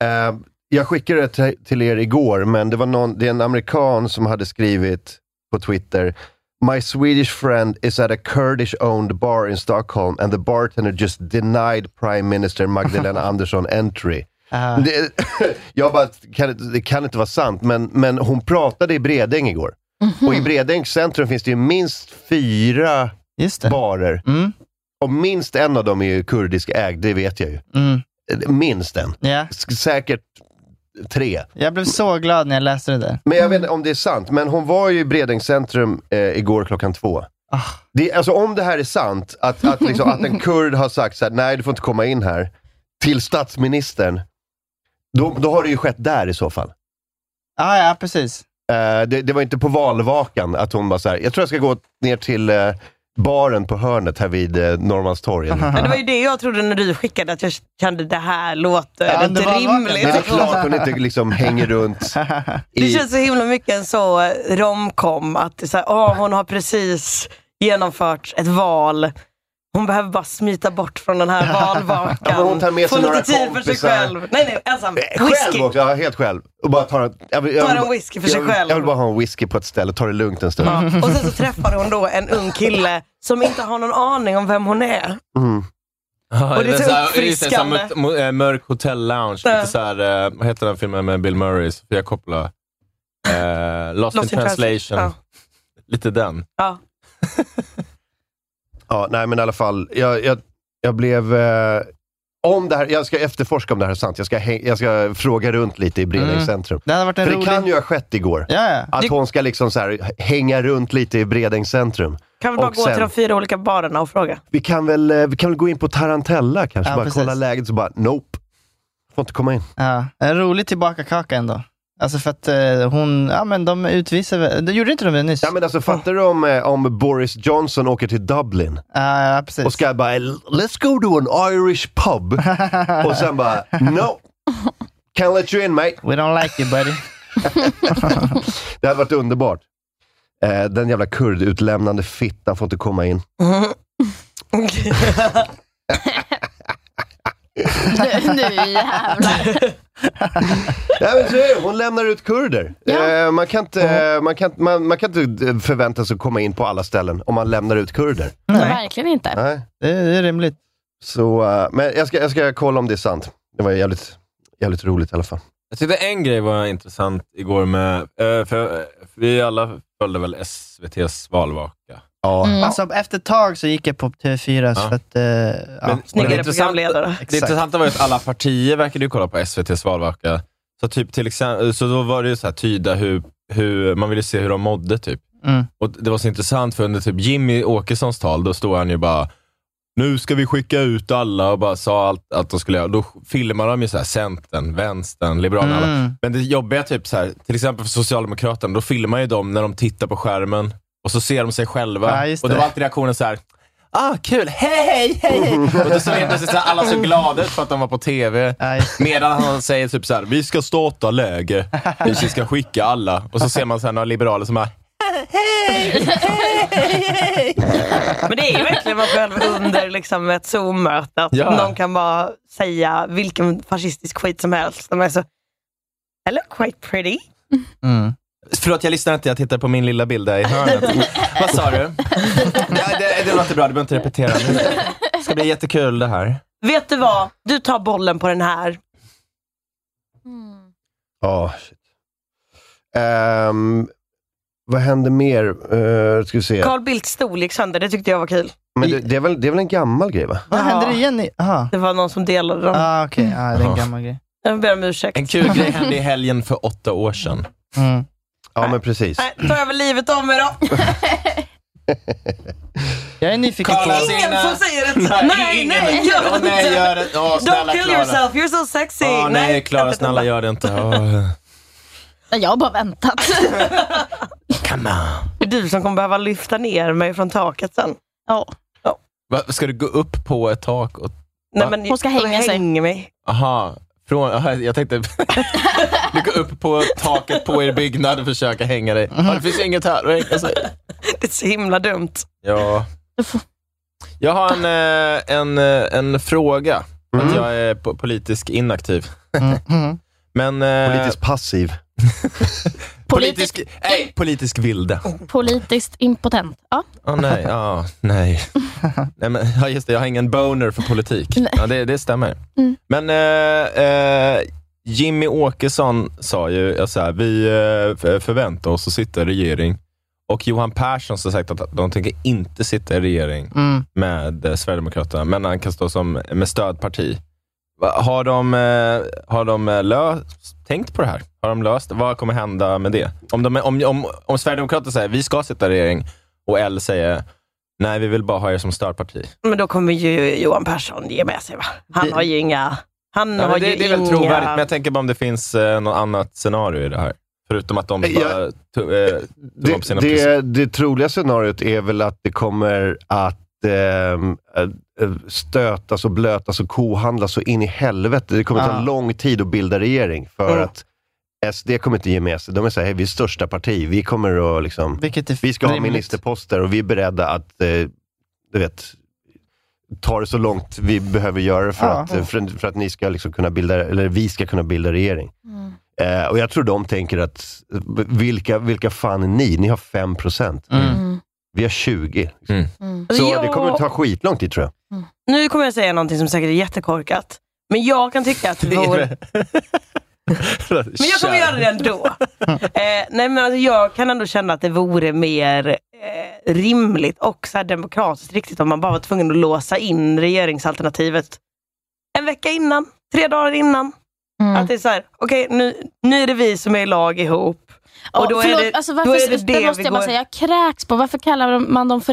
ja.
Eh, jag skickade det till- till er igår, men det var någon, det är en amerikan som hade skrivit på Twitter My Swedish friend is at a Kurdish-owned bar in Stockholm and the bartender just denied Prime
(laughs)
Minister Magdalena Andersson entry.
Ah.
Det, (laughs) jag bara, kan, inte- det kan inte vara sant, men, men hon pratade i Bredäng igår.
Mhm.
Och i Bredängs centrum finns det ju minst fyra
Just det.
barer.
Mm,
Och minst en av dem är ju kurdisk ägd, det vet jag ju. Eh,
mm.
Minst en.
Ja.
S- säkert tre.
Jag blev så glad när jag läste det där.
Men jag vet inte om det är sant, men hon var ju i Bredängs centrum eh, igår klockan två.
Ah.
Det, alltså om det här är sant, att, att, liksom, att en kurd har sagt så här, nej du får inte komma in här, till statsministern, då, då har det ju skett där i så fall.
Ah, ja, precis.
Eh, det, det var inte på valvakan att hon bara så här, jag tror jag ska gå ner till eh, baren på hörnet här vid eh, Norrmalmstorgen.
Men det var ju det jag trodde när du skickade, att jag kände det här låter
Ja,
inte
det var-
Det är väl
rimligt.
klart hon inte liksom hänger runt
Det
i...
känns så himla mycket en så eh, romcom, att det är så här, "Åh, hon har precis genomfört ett val. Hon behöver bara smita bort från den här valvakan.
(laughs) Ja, men hon tar med sig
Få
några
lite tid för sig
kompisar.
själv. Nej, nej, ensam.
Eh,
Whisky.
Själv också, ja, helt själv. Och bara tar en, jag vill, jag
Tar
vill
en
bara-
whisky för sig
jag vill-
själv.
Jag vill bara ha en whisky på ett ställe, ta det lugnt en stund.
Ja. Och sen så träffar hon då en ung kille som inte har någon aning om vem hon är.
Mm.
Ja,
Och det är
här- det
så
är så här
uppfriskande.
mot- mot- eh, Mörk Hotel Lounge.
Ja.
Lite så här, eh, vad heter den filmen med Bill Murray? Så får jag koppla. Eh, Lost, in translation.
Ja.
Lite den.
Ja.
Ja, nej men i alla fall, jag, jag, jag blev... Eh, om det här, jag ska efterforska om det här är sant. Jag ska, häng, jag ska fråga runt lite i Bredängs
Mm.
centrum.
Det hade varit en
För det
rolig...
kan ju ha skett igår.
Ja, ja.
Att
Det-
hon ska liksom så här, hänga runt lite i Bredängs centrum.
Kan vi bara
Och
gå
sen-
till de fyra olika barerna och fråga?
Vi kan väl, eh, vi kan väl gå in på Tarantella kanske,
Ja,
bara
precis.
kolla läget, så bara nope. Får inte komma in.
ja. En rolig tillbakakaka ändå. Alltså för att eh, hon, ja men de utvisar väl, det gjorde inte de det nyss?
Ja, men alltså, fattar du om, eh, om Boris Johnson åker till Dublin?
Ja, ja, precis.
Och
(laughs)
ska jag bara, let's go to an Irish
(laughs)
pub. och sen bara, no. Can't let you in mate.
We don't like you buddy.
(laughs) Det hade varit underbart. Eh, den jävla kurdutlämnande fittan får inte komma in.
Nu, nu jävlar.
Ja, men så är det. Hon lämnar ut kurder. Eh, man, kan inte, eh, man, kan, man, man kan inte eh, förvänta sig att komma in på alla ställen om man lämnar ut kurder.
Verkligen inte.
Nej. Det, är rimligt. Så, eh, men jag ska, jag ska kolla om det är sant. Det var jävligt, jävligt roligt i alla fall.
Jag tyckte en grej var intressant igår med... eh, För, för vi alla följde väl SVTs valvaka?
Ja.
Alltså, efter ett tag så gick jag på TV4 för att... Eh, ja.
det intressanta- Det intressanta var ju att alla partier verkade ju kolla på SVTs valvaka. Så, typ till exempel, så då var det ju så här, tyda hur, hur, man ville se hur de mådde. Typ.
Mm.
Och Det var så intressant, för under typ Jimmy Åkessons tal, då stod han ju bara nu ska vi skicka ut alla och bara sa allt att de skulle göra. Då filmade de ju så här Centern, Vänstern, Liberalerna. alla.
Mm.
Men det jobbiga, typ så här, till exempel för Socialdemokraterna, då filmar ju de när de tittar på skärmen och så ser de sig själva.
Ja, just
och då
det.
var alltid reaktionen så här, ah kul, hej hej hej hej. Och då såg helt plötsligt så här, alla så glada ut för att de var på TV. Medan han säger typ så här, vi ska starta läge, vi ska skicka alla. Och så ser man så här, några liberaler som bara,
(laughs) Men det är ju verkligen man själv under liksom ett Zoom-möte. Att
Ja.
Någon kan bara säga vilken fascistisk skit som helst. De är så, I look quite pretty.
Förlåt, jag lyssnar inte. Jag tittar på min lilla bild där i hörnet. Vad sa du? Ja, det, det låter bra. Du behöver inte repetera. nu. Det ska bli jättekul det här.
Vet du vad? Du tar bollen på den här.
Ja, shit. Ehm, vad händer mer? Uh, ska vi se.
Carl Bildts stol gick sönder. Det tyckte jag var kul.
Men det, det, är väl, det är väl en gammal grej, va?
Vad
hände det igen?
Det var någon som delade dem.
Ah, okay. ah, det är en gammal grej.
Jag ber om ursäkt.
En kul grej hände i helgen för åtta år sedan.
Ja, men precis.
Nej, Ta över livet av mig då.
Jag är nyfiken
Kolla,
på...
Ingen som säger ett nej, nej,
ingen.
gör det
Åh, nej,
inte.
gör det. Åh,
Don't
snälla,
kill
Klara.
yourself, you're so sexy.
Åh, nej, Klara, snälla gör det inte. Åh.
Nej, Jag har bara väntat.
Come on.
Det är du som kommer behöva lyfta ner mig från taket sen.
Ja.
Va, ska du gå upp på ett tak? Och...
Nej, men
Hon ska hänga sig.
Häng mig.
Aha. Från, aha, jag tänkte... (laughs) du går upp på taket på er byggnad och försöker hänga dig. Ja, det finns ju inget här att hänga sig i.
Det är så himla dumt.
Ja. Jag har en, eh, en, eh, en fråga. Att jag är po- politisk inaktiv. (laughs) Men... eh,
Politiskt passiv.
politisk... Nej, politisk vilde.
Politiskt impotent. Ja.
Åh nej, ja,
(laughs)
nej. nej men, ja, just det, jag har ingen boner för politik. Ja, det, det stämmer.
Mm.
Men eh, eh, Jimmy Åkesson sa ju ja, så här, vi eh, för- förväntar oss att sitta i regering. Och Johan Persson har sagt att de tänker inte sitta i regering
Mm.
med eh, Sverigedemokraterna, men han kan stå som med stödparti. Va- Har de, eh, har de eh, löst, tänkt på det här? Har de löst Vad kommer hända med det? Om, de, om, om, om Sverigedemokraterna säger vi ska sitta i regering och L säger nej, vi vill bara ha er som stödparti.
Men då kommer ju Johan Persson ge med sig va? Han har ju inga... Han
Ja,
har
men det,
ju
det är väl
inga...
trovärdigt, men jag tänker bara om det finns eh, något annat scenario i det här. Förutom att de bara
Eh,
eh,
Jag-
ja, tummar på
Det,
sina principer.
det, det troliga scenariot är väl att det kommer att ehm, eh, stötas och blötas och kohandlas så in i helvete. Det kommer ta
Ja.
lång tid att bilda regering för
Oh.
Mm.
att SD kommer inte ge med sig. De är såhär, hey, vi är största parti. Vi kommer att liksom...
Vilket är
Vi ska ha
rimligt.
ministerposter och vi är beredda att, eh, du vet, ta det så långt vi behöver göra det för,
Ja.
att, eh, för, för att ni ska liksom kunna bilda, eller vi ska kunna bilda regering. Eh, och jag tror de tänker att, eh, vilka, vilka fan är ni? Ni har 5 procent.
Mm.
Mm.
Vi har 20. liksom.
Mm.
Så
Ja.
det kommer att ta skitlång tid tror jag.
Nu kommer jag säga någonting som säkert är jättekorkat. Men jag kan tycka att
(laughs)
Eh,
det vore... Men jag kommer göra
(laughs)
det ändå. eh, nej, men alltså, jag kan ändå känna att det vore mer eh, rimligt och så här demokratiskt riktigt om man bara var tvungen att låsa in regeringsalternativet en vecka innan, tre dagar innan.
Mm.
Att det är så här, okej nu, nu är det vi som är i lag ihop.
Ja,
Och då
förlåt,
är det
alltså,
då
varför,
är det,
det,
det
måste
vi
jag bara
går...
säga, jag kräks på. Varför kallar man dem för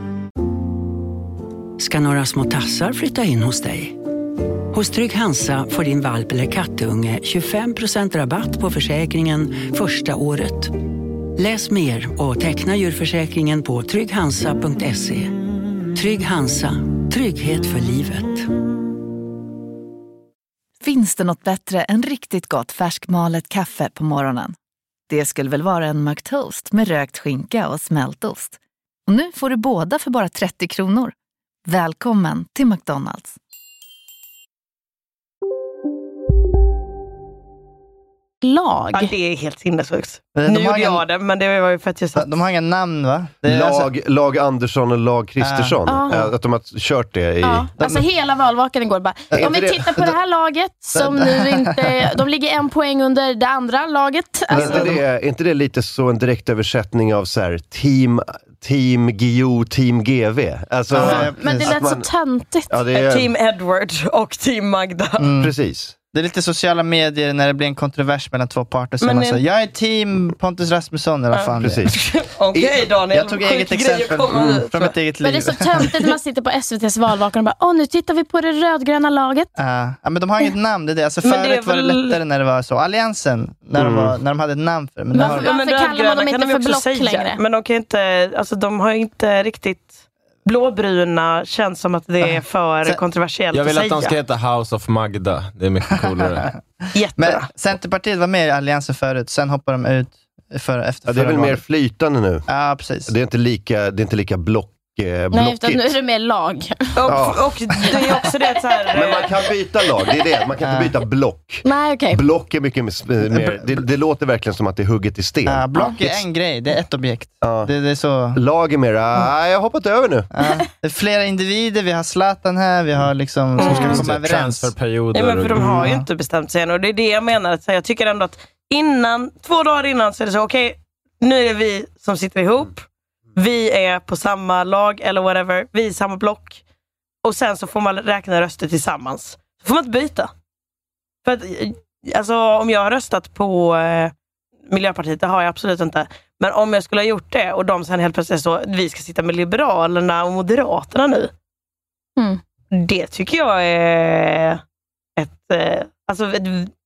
ska några små tassar flytta in hos dig. Hos Trygg Hansa får din valp eller kattunge 25% rabatt på försäkringen första året. Läs mer och teckna djurförsäkringen på trygghansa.se. Trygg Hansa, trygghet för livet.
Finns det något bättre än riktigt gott färskmalet kaffe på morgonen? Det skulle väl vara en McToast med rökt skinka och smältost? Och nu får du båda för bara 30 kronor. Välkommen till McDonalds.
Lag?
Ja, det är helt sinnessjukt.
Eh,
Nu
de har
gjorde jag
ingen-
det, men det var ju för att jag satt...
De har inga namn va? alltså,
lag, lag Andersson och Lag
Ah.
Kristersson.
Ja.
Eh, Att de har kört det i...
Ja, alltså hela valvakan igår bara,
Är
om vi
inte det-
tittar på det här laget som nu inte, de ligger en poäng under det andra laget.
Men
Alltså,
är, inte det, Eh, är inte det lite så en direktöversättning av så här, team, team Gio, team GV? Alltså,
men det
att
lät så
man-
töntigt.
Ja, det är-
Team Mm. Edward och Team Magda.
Precis.
Mm. Det är lite sociala medier när det blir en kontrovers mellan två parter. Så men
Men
man
ni-
säger, jag är team Pontus Rasmusson eller vad
Ja.
fan det är.
Precis.
(laughs) Okej Daniel,
Jag tog
sjuk
eget
grej att
exempel
komma
mm,
hit
från
med.
mitt eget
men
liv.
det är så töntigt när man sitter på SVTs valvakan och bara, åh nu tittar vi på det rödgröna laget.
Ja, ja, men de har inget namn. Det är det. Alltså,
Men det är
förut var det
väl-
lättare när det var så. Alliansen, när, de, var, när de hade ett namn för det. Men nu har de-
Ja, men rödgröna kan ju också säga, Men de, kan ju inte, alltså, de har ju inte riktigt... Blåbruna känns som att det är för kontroversiellt
Jag vill
att
att
säga.
de ska heta House of Magda. Det är mycket (laughs) coolare.
men Centerpartiet var med i Alliansen förut, sen hoppade de ut för, efter
Ja, det är
förra
väl mer
valet.
flytande nu?
Ja, precis.
Det är inte lika, det är inte lika block, eh,
Nej, utan
blockigt.
nu är det mer lag.
Ja.
Och det är också det så här...
Men man kan byta lag, det är det. Man kan inte byta block.
Nej, okej.
Block är mycket mes- mer... Det, det låter verkligen som att det är hugget i sten.
Ja, block är en grej, det är ett objekt.
Ja.
Det, är så...
Lag är mer... "Ah, jag har hoppat över nu.
Det är flera individer, vi har Zlatan här, vi har liksom... Som ska komma överens.
Transferperioder.
Nej, men för de har
Mm.
ju inte bestämt sig än. Och det är det jag menar. Att så här, jag tycker ändå att innan, två dagar innan så är det så, okej, nu är det vi som sitter ihop. Vi är på samma lag eller whatever. Vi är i samma block. Och sen så får man räkna röster tillsammans. Så får man inte byta. För att, eh, alltså, om jag har röstat på eh, Miljöpartiet, det har jag absolut inte. Men om jag skulle ha gjort det och de sen helt plötsligt så, vi ska sitta med Liberalerna och Moderaterna nu. Det tycker jag är ett... eh, Alltså, ett,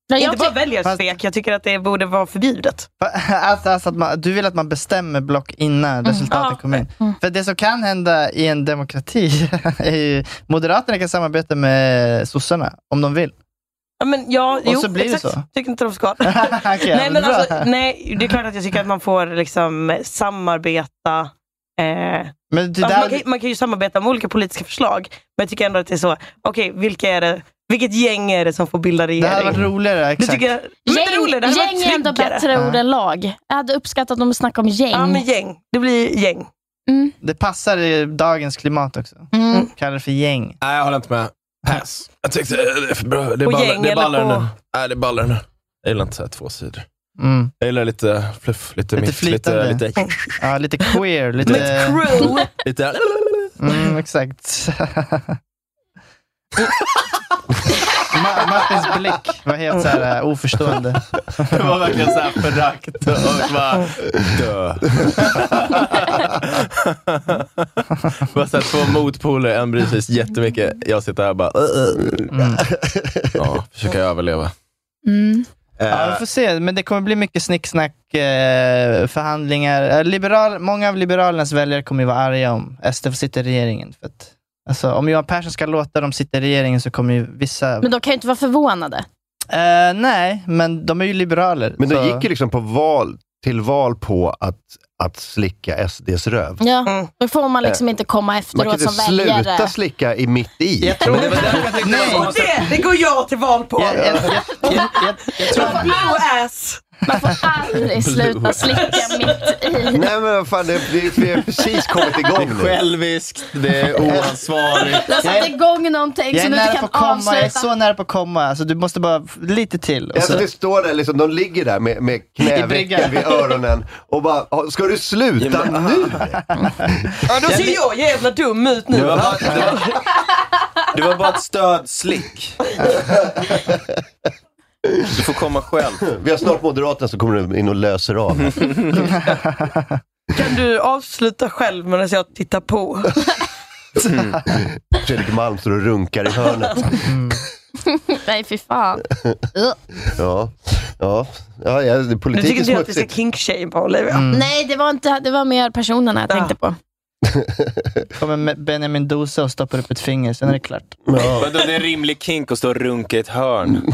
jag
inte bara
ty-
väljarsvek, jag tycker att det borde vara förbjudet.
(laughs) Alltså, alltså att man, du vill att man bestämmer block innan resultatet kommer in. För det som kan hända i en demokrati (laughs) är ju, Moderaterna kan samarbeta med sossarna om de vill.
Ja, men ja,
Och
jo,
så blir det
exakt.
så.
Tycker inte
(laughs)
de ska. nej,
men
men
bra.
alltså, nej, det är klart att jag tycker att man får liksom samarbeta. Eh,
Men det
alltså,
där-
man, kan, man kan ju samarbeta med olika politiska förslag, men jag tycker ändå att det är så, okej, vilka är det, vilket gäng är det som får bilda regering?
Det hade varit roligare,
Det
exakt.
tycker jag, men inte roligare, det hade varit
gäng är ändå
tryggare.
bättre ord än lag. Jag hade uppskattat om de snackade om gäng.
Ja, men gäng. Det blir gäng.
Mm.
Det passar i dagens klimat också.
Mm.
Kallar det för gäng.
Nej, jag håller inte med. Pass. (laughs) Jag tyckte eh, det är för bra. Det är
På
ballar-
gäng
det är
eller
ballare
på-
nu. Nej, det är ballare nu. Jag gillar inte så här två sidor.
Mm.
Jag gillar lite fluff, lite,
Lite
mitt, lite,
flytande.
lite,
Ja, lite queer. Lite,
Lite crew. lite...
Mm, exakt. (laughs) Ma- Martins blick var helt så här, eh, oförstående.
Det var verkligen såhär förakt och bara dö. (laughs) bara såhär två motpoler, en bryr sig jättemycket. Jag sitter här och bara...
Mm.
Ja, försöker överleva. Eh,
Ja, vi får se, men det kommer bli mycket snicksnack, eh, förhandlingar. Eh, liberal, många av Liberalernas väljare kommer ju vara arga om SD sitter i regeringen. För att, alltså, om Johan Persson ska låta dem sitta i regeringen så kommer ju vissa...
Men de kan ju inte vara förvånade.
Eh, nej, men de är ju
Typ.
liberaler.
Men
så-
de gick ju liksom på val, till val på att, att slicka SDs röv.
Ja, Då får man liksom inte komma
Man
efteråt
kan inte
som
sluta
alltså väljare.
slicka i mitt i.
Jag tror-
Och det, det går jag till val på.
Jag, jag,
Blue ass!
Man får aldrig sluta slicka mitt i.
Nej men vad fan, det, det, vi har precis kommit igång nu.
Det är själviskt, det är oansvarigt.
Det har satt igång någonting
jag är
som du
nära
inte
på
kan
att komma, jag är
avsluta.
så nära på att komma. Alltså, du måste bara f- lite till. Och
Alltså
så.
det står där liksom, de ligger där med, med
I bryggan.
knävecken vid öronen och bara, "Ah, ska du sluta nu?
Ja, då ser jag jävla dum ut nu.
Det var bara, det var, det var bara ett stödslick. Du får komma själv.
Vi har snart Moderaterna som kommer in och löser av.
(laughs)
Kan du avsluta själv medan jag tittar på?
Fredrik Malm står och runkar i hörnet.
Nej, fy fan. Ugh.
Ja, ja, ja, ja det-
Du
politik
tycker
är
inte att vi ska
smutsigt.
kinkshama Olivia?
Mm.
Nej, det var, inte, det var mer personerna jag tänkte på.
Kommer med Benjamin Dosa och stoppar upp ett finger, sen är det klart.
Vadå, det är en rimlig kink att stå och runka i ett hörn?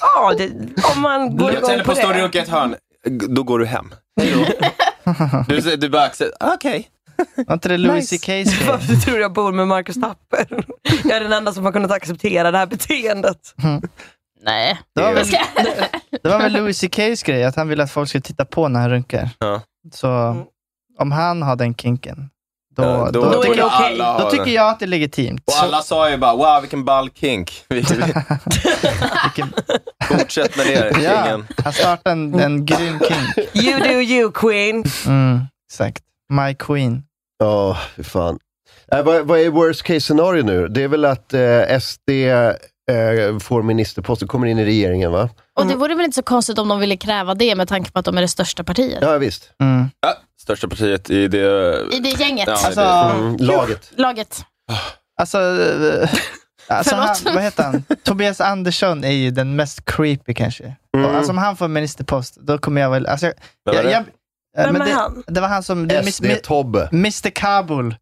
Ja, det, om
(laughs)
man går
Jag
igång
tänder
på
på att stå och
det.
runka i ett hörn, då går du hem. Du, du, du bara, accept- okej.
Var inte det Louis CK's grej?
Varför tror du jag bor med Marcus Tapper? Jag är den enda som har kunnat acceptera det här beteendet.
Nej.
Det var väl, det var väl Louis CK's grej, att han ville att folk skulle titta på när han runkar. Så om han har den kinken, då,
Ja, då-
då,
då är det
tycker,
okej. alla har
då tycker
den.
jag att det är legitimt.
Och alla sa ju bara, wow vilken ball kink. Vi- vi- Fortsätt med det,
Ja,
kingen.
han startade en, en grym kink.
You do you queen.
Mm, exakt. My queen.
Ja, fy fan. Äh, vad, vad är worst case scenario nu? Det är väl att eh, SD eh, får ministerposten, kommer in i regeringen va?
Och det vore väl inte så konstigt om de ville kräva det med tanke på att de är det största partiet.
Ja, visst.
Ja, största partiet i det...
I det gänget.
Ja, i
Alltså,
det-
Mm, laget.
Laget.
Alltså, eh, alltså han,
Förlåt.
vad heter han? Tobias Andersson är ju den mest creepy kanske. Och, alltså, om han får ministerpost, då kommer jag väl... Alltså, jag,
Vem är
jag,
det?
jag, eh,
Vem
men
är
det,
han?
Det var han som... Mm, Det, är Miss- Mi-
SD-Tobbe.
Mr Kabul.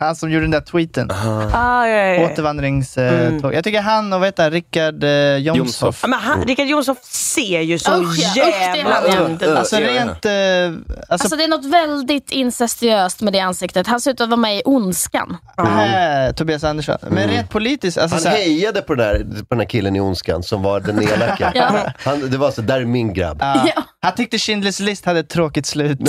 han som gjorde den där tweeten.
Ah, ja, ja, ja.
Återvandringståg. Jag tycker han och vad heter han, Rickard eh, Jomshof.
Ja, Men han, Richard Jonsson ser ju så
Usch, ja. Usch, det är
jävla
han.
ond ut.
Alltså rent... Eh,
Alltså, det är något väldigt incestuöst med det ansiktet. Han ser ut att vara med i Ondskan.
nej, Tobias Andersson. Men
Mm.
rent politiskt, alltså,
han
så här-
hejade på den, där, på den här killen i Ondskan som var den elaka.
(laughs) Ja.
han, det var så, där är min grabb.
Ja. Han tyckte Schindler's list hade ett tråkigt slut. (laughs)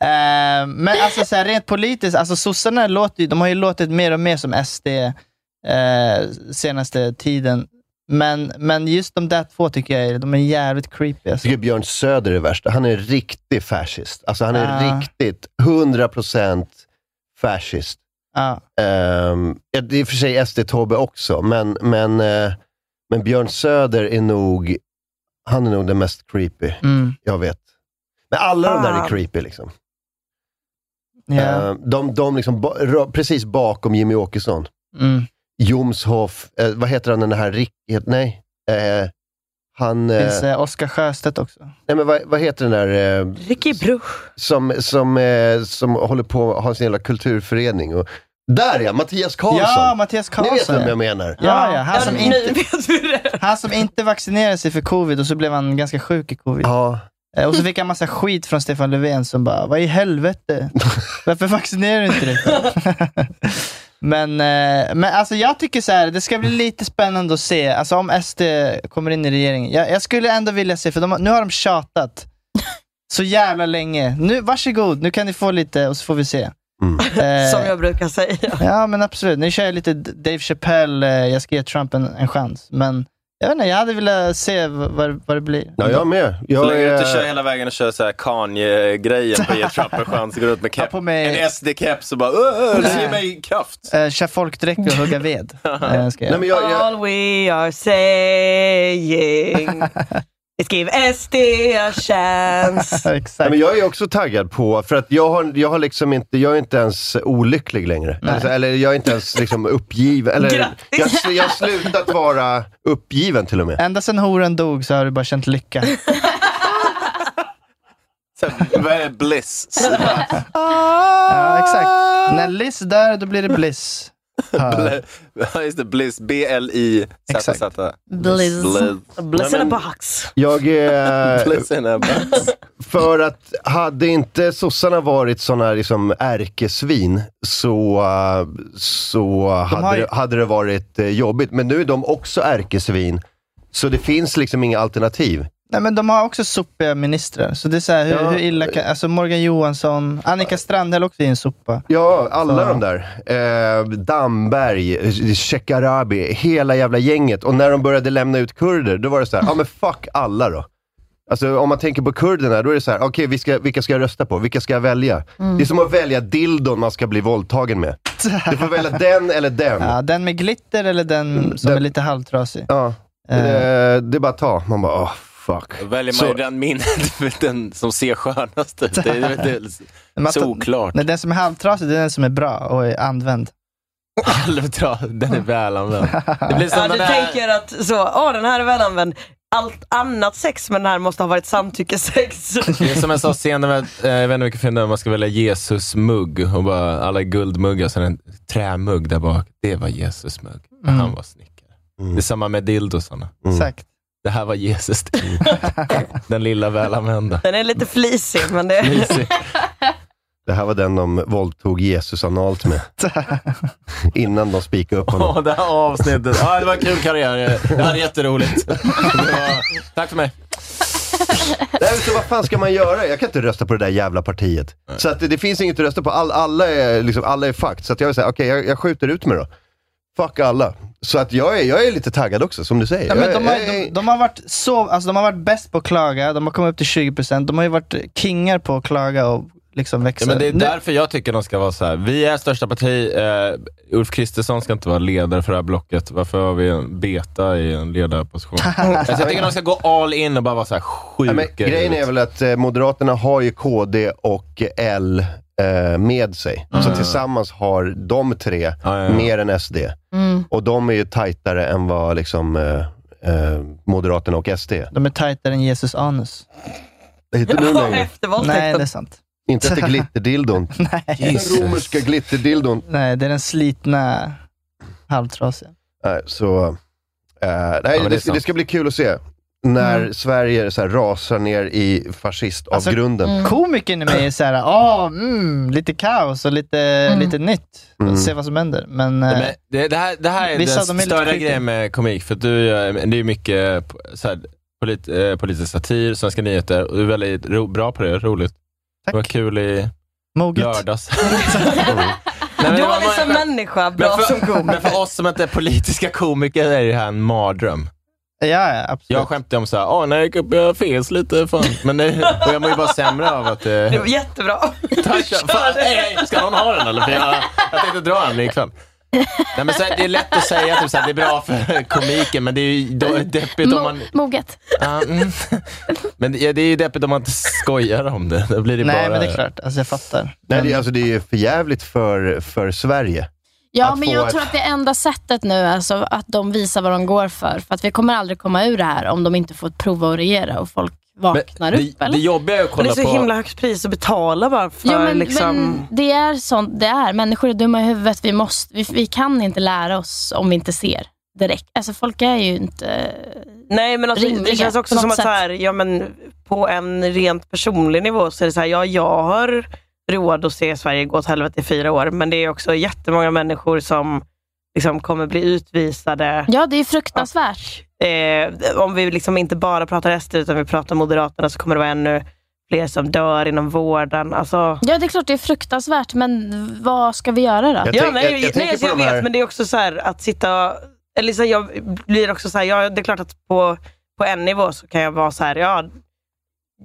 Eh, men alltså så här, rent politiskt, alltså sossarna låter, ju- de har ju låtit mer och mer som SD eh, senaste tiden. Men, men just de där två tycker jag är, de är jävligt creepy. alltså.
Jag tycker Björn Söder är värst. Han är en riktig fascist. Alltså han är
Ah.
riktigt, 100% fascist.
Ah.
Ehm, ja, det är i och för sig SD-Tobbe också, men, men, eh, men Björn Söder är nog, han är nog den mest creepy
Mm.
jag vet. Men alla de där är
Ah.
creepy liksom.
Ja.
Ehm, de de liksom ba, ra- precis bakom Jimmy Åkesson.
Mm.
Jomshof, eh, vad heter han den här Rick, het, nej, eh, han... eh,
Finns eh, Oscar Sjöstedt också.
Nej, men vad, vad heter den där... Eh,
Ricky Bruch.
Som, som, eh, som håller på att ha sin jävla kulturförening. Och, där ja, Mattias Karlsson!
Ja, Mattias Karlsson.
Ni vet vem jag menar.
Ja, ja. Han, som inte,
vet vi det.
han som inte vaccinerade sig för covid och så blev han ganska sjuk i covid.
Ja.
Eh, Och så fick han massa skit från Stefan Löfven som bara, vad i helvete? Varför vaccinerar du inte dig? men, eh, men alltså (laughs) jag tycker så här, det ska bli lite spännande att se. Alltså om SD kommer in i regeringen. Jag, jag skulle ändå vilja se, för de, har- nu har de tjatat så jävla länge. Nu, varsågod, nu kan ni få lite och så får vi se. (laughs) Eh,
Som jag brukar säga.
Ja, men absolut. Nu kör jag lite D- Dave Chappelle, eh, jag ska ge Trump en, en chans. Men jag vet inte, jag hade velat se v- vad, vad det blir.
Ja, jag med. Jag eh,
så länge du inte
är-
kör hela vägen och kör så här Kanye-grejen på
(laughs)
Ge Trump en chans, går ut med, keps. en SD-keps och bara "Åh, du ger mig kraft.
Eh, Kör folkdräkt och hugga ved. Eh, ska jag.
Nej, men jag- jag-
All we
(laughs)
are saying is give SD
(laughs)
a chance.
Nej, men jag är också taggad på, för att jag har, jag har liksom inte, jag är inte ens olycklig längre. Alltså, eller jag är inte ens liksom uppgiven. Eller, jag,
Grattis!
jag har slutat vara uppgiven till och med.
Ända sedan horen dog så har du bara känt lycka.
Så här, Vad är det? Bliss.
(laughs)
Så bara,
ja, exakt. När Liz dör, då blir det bliss.
bl- Ja, Just det, Bliss. B-L-I-Z-Z.
Bliss.
Bliss in a
Nej, men-
box.
Jag är...
Bliss in a box.
För att hade inte sossarna varit såna liksom ärkesvin så, eh, så hade,
ju-
det, hade det varit eh, jobbigt. Men nu är de också ärkesvin, så det finns liksom inga alternativ.
Nej, men de har också sopiga ministrar. Så det är så här, hur,
Ja.
hur illa kan... Alltså Morgan Johansson, Annika Strandhäll också är en sopa.
Ja, alla
Så-
de där. Eh, Damberg, eh, Shekarabi, hela jävla gänget. Och när de började lämna ut kurder, då var det så här, ja men fuck alla då. Alltså om man tänker på kurderna, då är det så här, okej vi ska, vilka ska jag rösta på? Vilka ska jag välja?
Mm.
Det är som att välja dildon man ska bli våldtagen med. Du får välja den eller den. Mm,
Ja, den med glitter eller den som är lite halvtrasig? Eh.
Ja. Det, det är bara att ta. Man bara, åh, fuck.
Då väljer man
Så-
ju den minnet, (laughs) den som ser skönast ut. Det är, det är,
Men att-
såklart.
Nej, den som är halvtrasig, det är den som är bra och är använd.
Halvtrasig, den är väl använd. Det blir som
Ja, du
den där...
tänker att så, åh den här är välanvänd. Allt annat sex med den här måste ha varit samtyckessex.
Det är som jag sa senare, eh, jag vet inte vilken film det är, man ska välja Jesus-mugg och bara, alla är guldmuggar, sen en trämugg där bak. Det var Jesus-mugg.
Mm.
Han var snickare. Det är samma med dildosarna.
Exakt.
Det här
(laughs)
var Jesus. Den lilla välanvända.
(laughs) Den är lite flisig, men det
Det här var den de våldtog Jesus
(laughs)
analt med. Innan de spikade upp honom.
Åh, det här avsnittet. Ja, det var en kul karriär. Det här är
(laughs)
jätteroligt. Det var... Tack för mig.
Nej, men så vad fan ska man göra? Jag kan inte rösta på det där jävla partiet. Så att det, det finns inget att rösta på. All, alla är, liksom, alla är fucked. Så att jag vill säga, okej, jag, jag skjuter ut mig då. Fuck alla. Så att jag är, jag är lite taggad också, som du säger.
Ja,
jag,
men de, har,
jag,
de, de, har varit så, alltså de har varit bäst på att klaga, de har kommit upp till 20%, de har ju varit kingar på att klaga och liksom växa.
Ja, men det är
Nu-
därför jag tycker de ska vara så här. Vi är största parti. Eh, Ulf Kristersson ska inte vara ledare för det här blocket. Varför har vi en beta i
(laughs)
en ledarposition? alltså, jag tycker de ska gå all in och bara vara så här sjuka.
Ja, men grejen är väl att eh, Moderaterna har ju KD och L eh, med sig. Så tillsammans har de tre mer än SD.
Mm.
Och de är ju tajtare än vad liksom, eh, eh, Moderaterna och SD är.
De är tajtare än Jesus anus.
Inte nu längre.
Nej, det är sant.
Inte (laughs) efter glitterdildon.
Jesus.
Den romerska glitterdildon.
Nej, det är den slitna halvtrasiga.
Nej, så, eh, nej,
men det är
det, det,
sant.
ska bli kul att se när
Mm.
Sverige så här, rasar ner i fascistavgrunden.
Mm. Komikern i mig är såhär, ah, mm, lite kaos och lite, lite nytt.
Mm.
Se vad som händer. Men, eh,
Men det, det, här, det här är
Vissa,
den
de är lite
större
sjuka.
grejen med komik, för att du, eh, det är mycket eh, så här, polit, eh, politisk satir, svenska nyheter, och du är väldigt ro, bra på det, roligt. Det var kul i
Moget. (laughs)
lördags.
Du
Nej, men det var
Dålig som
många-
liksom människa,
Men
bra som
för, men
komiker.
för oss som inte är politiska komiker är det här en mardröm.
Ja, ja, absolut.
Jag skämtade om såhär, åh, när jag gick upp, jag fes lite. Fan. Men det, och jag mår ju bara sämre av att... Eh,
Det var jättebra.
Tack, fan, hej, hej, ska någon ha den eller? För jag, jag tänkte dra den ikväll. Nej, men så här, det är lätt att säga typ, så här, det är bra för komiken, men det är ju då, deppigt om man...
Moget.
Ja, mm. Men det, det är ju deppigt om man inte skojar om det. Då blir det
Nej,
bara...
men det är klart. Alltså, jag fattar.
Nej, det, är- alltså, det är ju för jävligt för, för Sverige.
Ja,
Att
men
få
jag
ett-
tror att det enda sättet nu är alltså att de visar vad de går för. För att vi kommer aldrig komma ur det här om de inte får prova att regera och folk vaknar
Men
upp. Eller?
Det jobbiga är att
Men
kolla
det är så
på...
himla högt pris att betala bara för
Ja, men,
liksom...
men det är sånt det är. Människor är dumma i huvudet. Vi, måste, vi, vi kan inte lära oss om vi inte ser direkt. Alltså folk är ju inte...
Nej men alltså,
rimliga
det känns också
på
som
något
att så här, ja, men på en rent personlig nivå så är det så här, ja jag har råd att se Sverige gå åt helvete i fyra år, men det är också jättemånga människor som liksom kommer bli utvisade.
Ja, det är fruktansvärt.
Eh, om vi liksom inte bara pratar SD utan vi pratar Moderaterna så kommer det vara ännu fler som dör inom vården. Alltså,
Ja, det är klart det är fruktansvärt, men vad ska vi göra då?
ja, nej, jag, nej, alltså, jag vet, men det är också så här att sitta... Eller så här, jag blir också så här, ja, det är klart att på, på en nivå så kan jag vara så här, ja,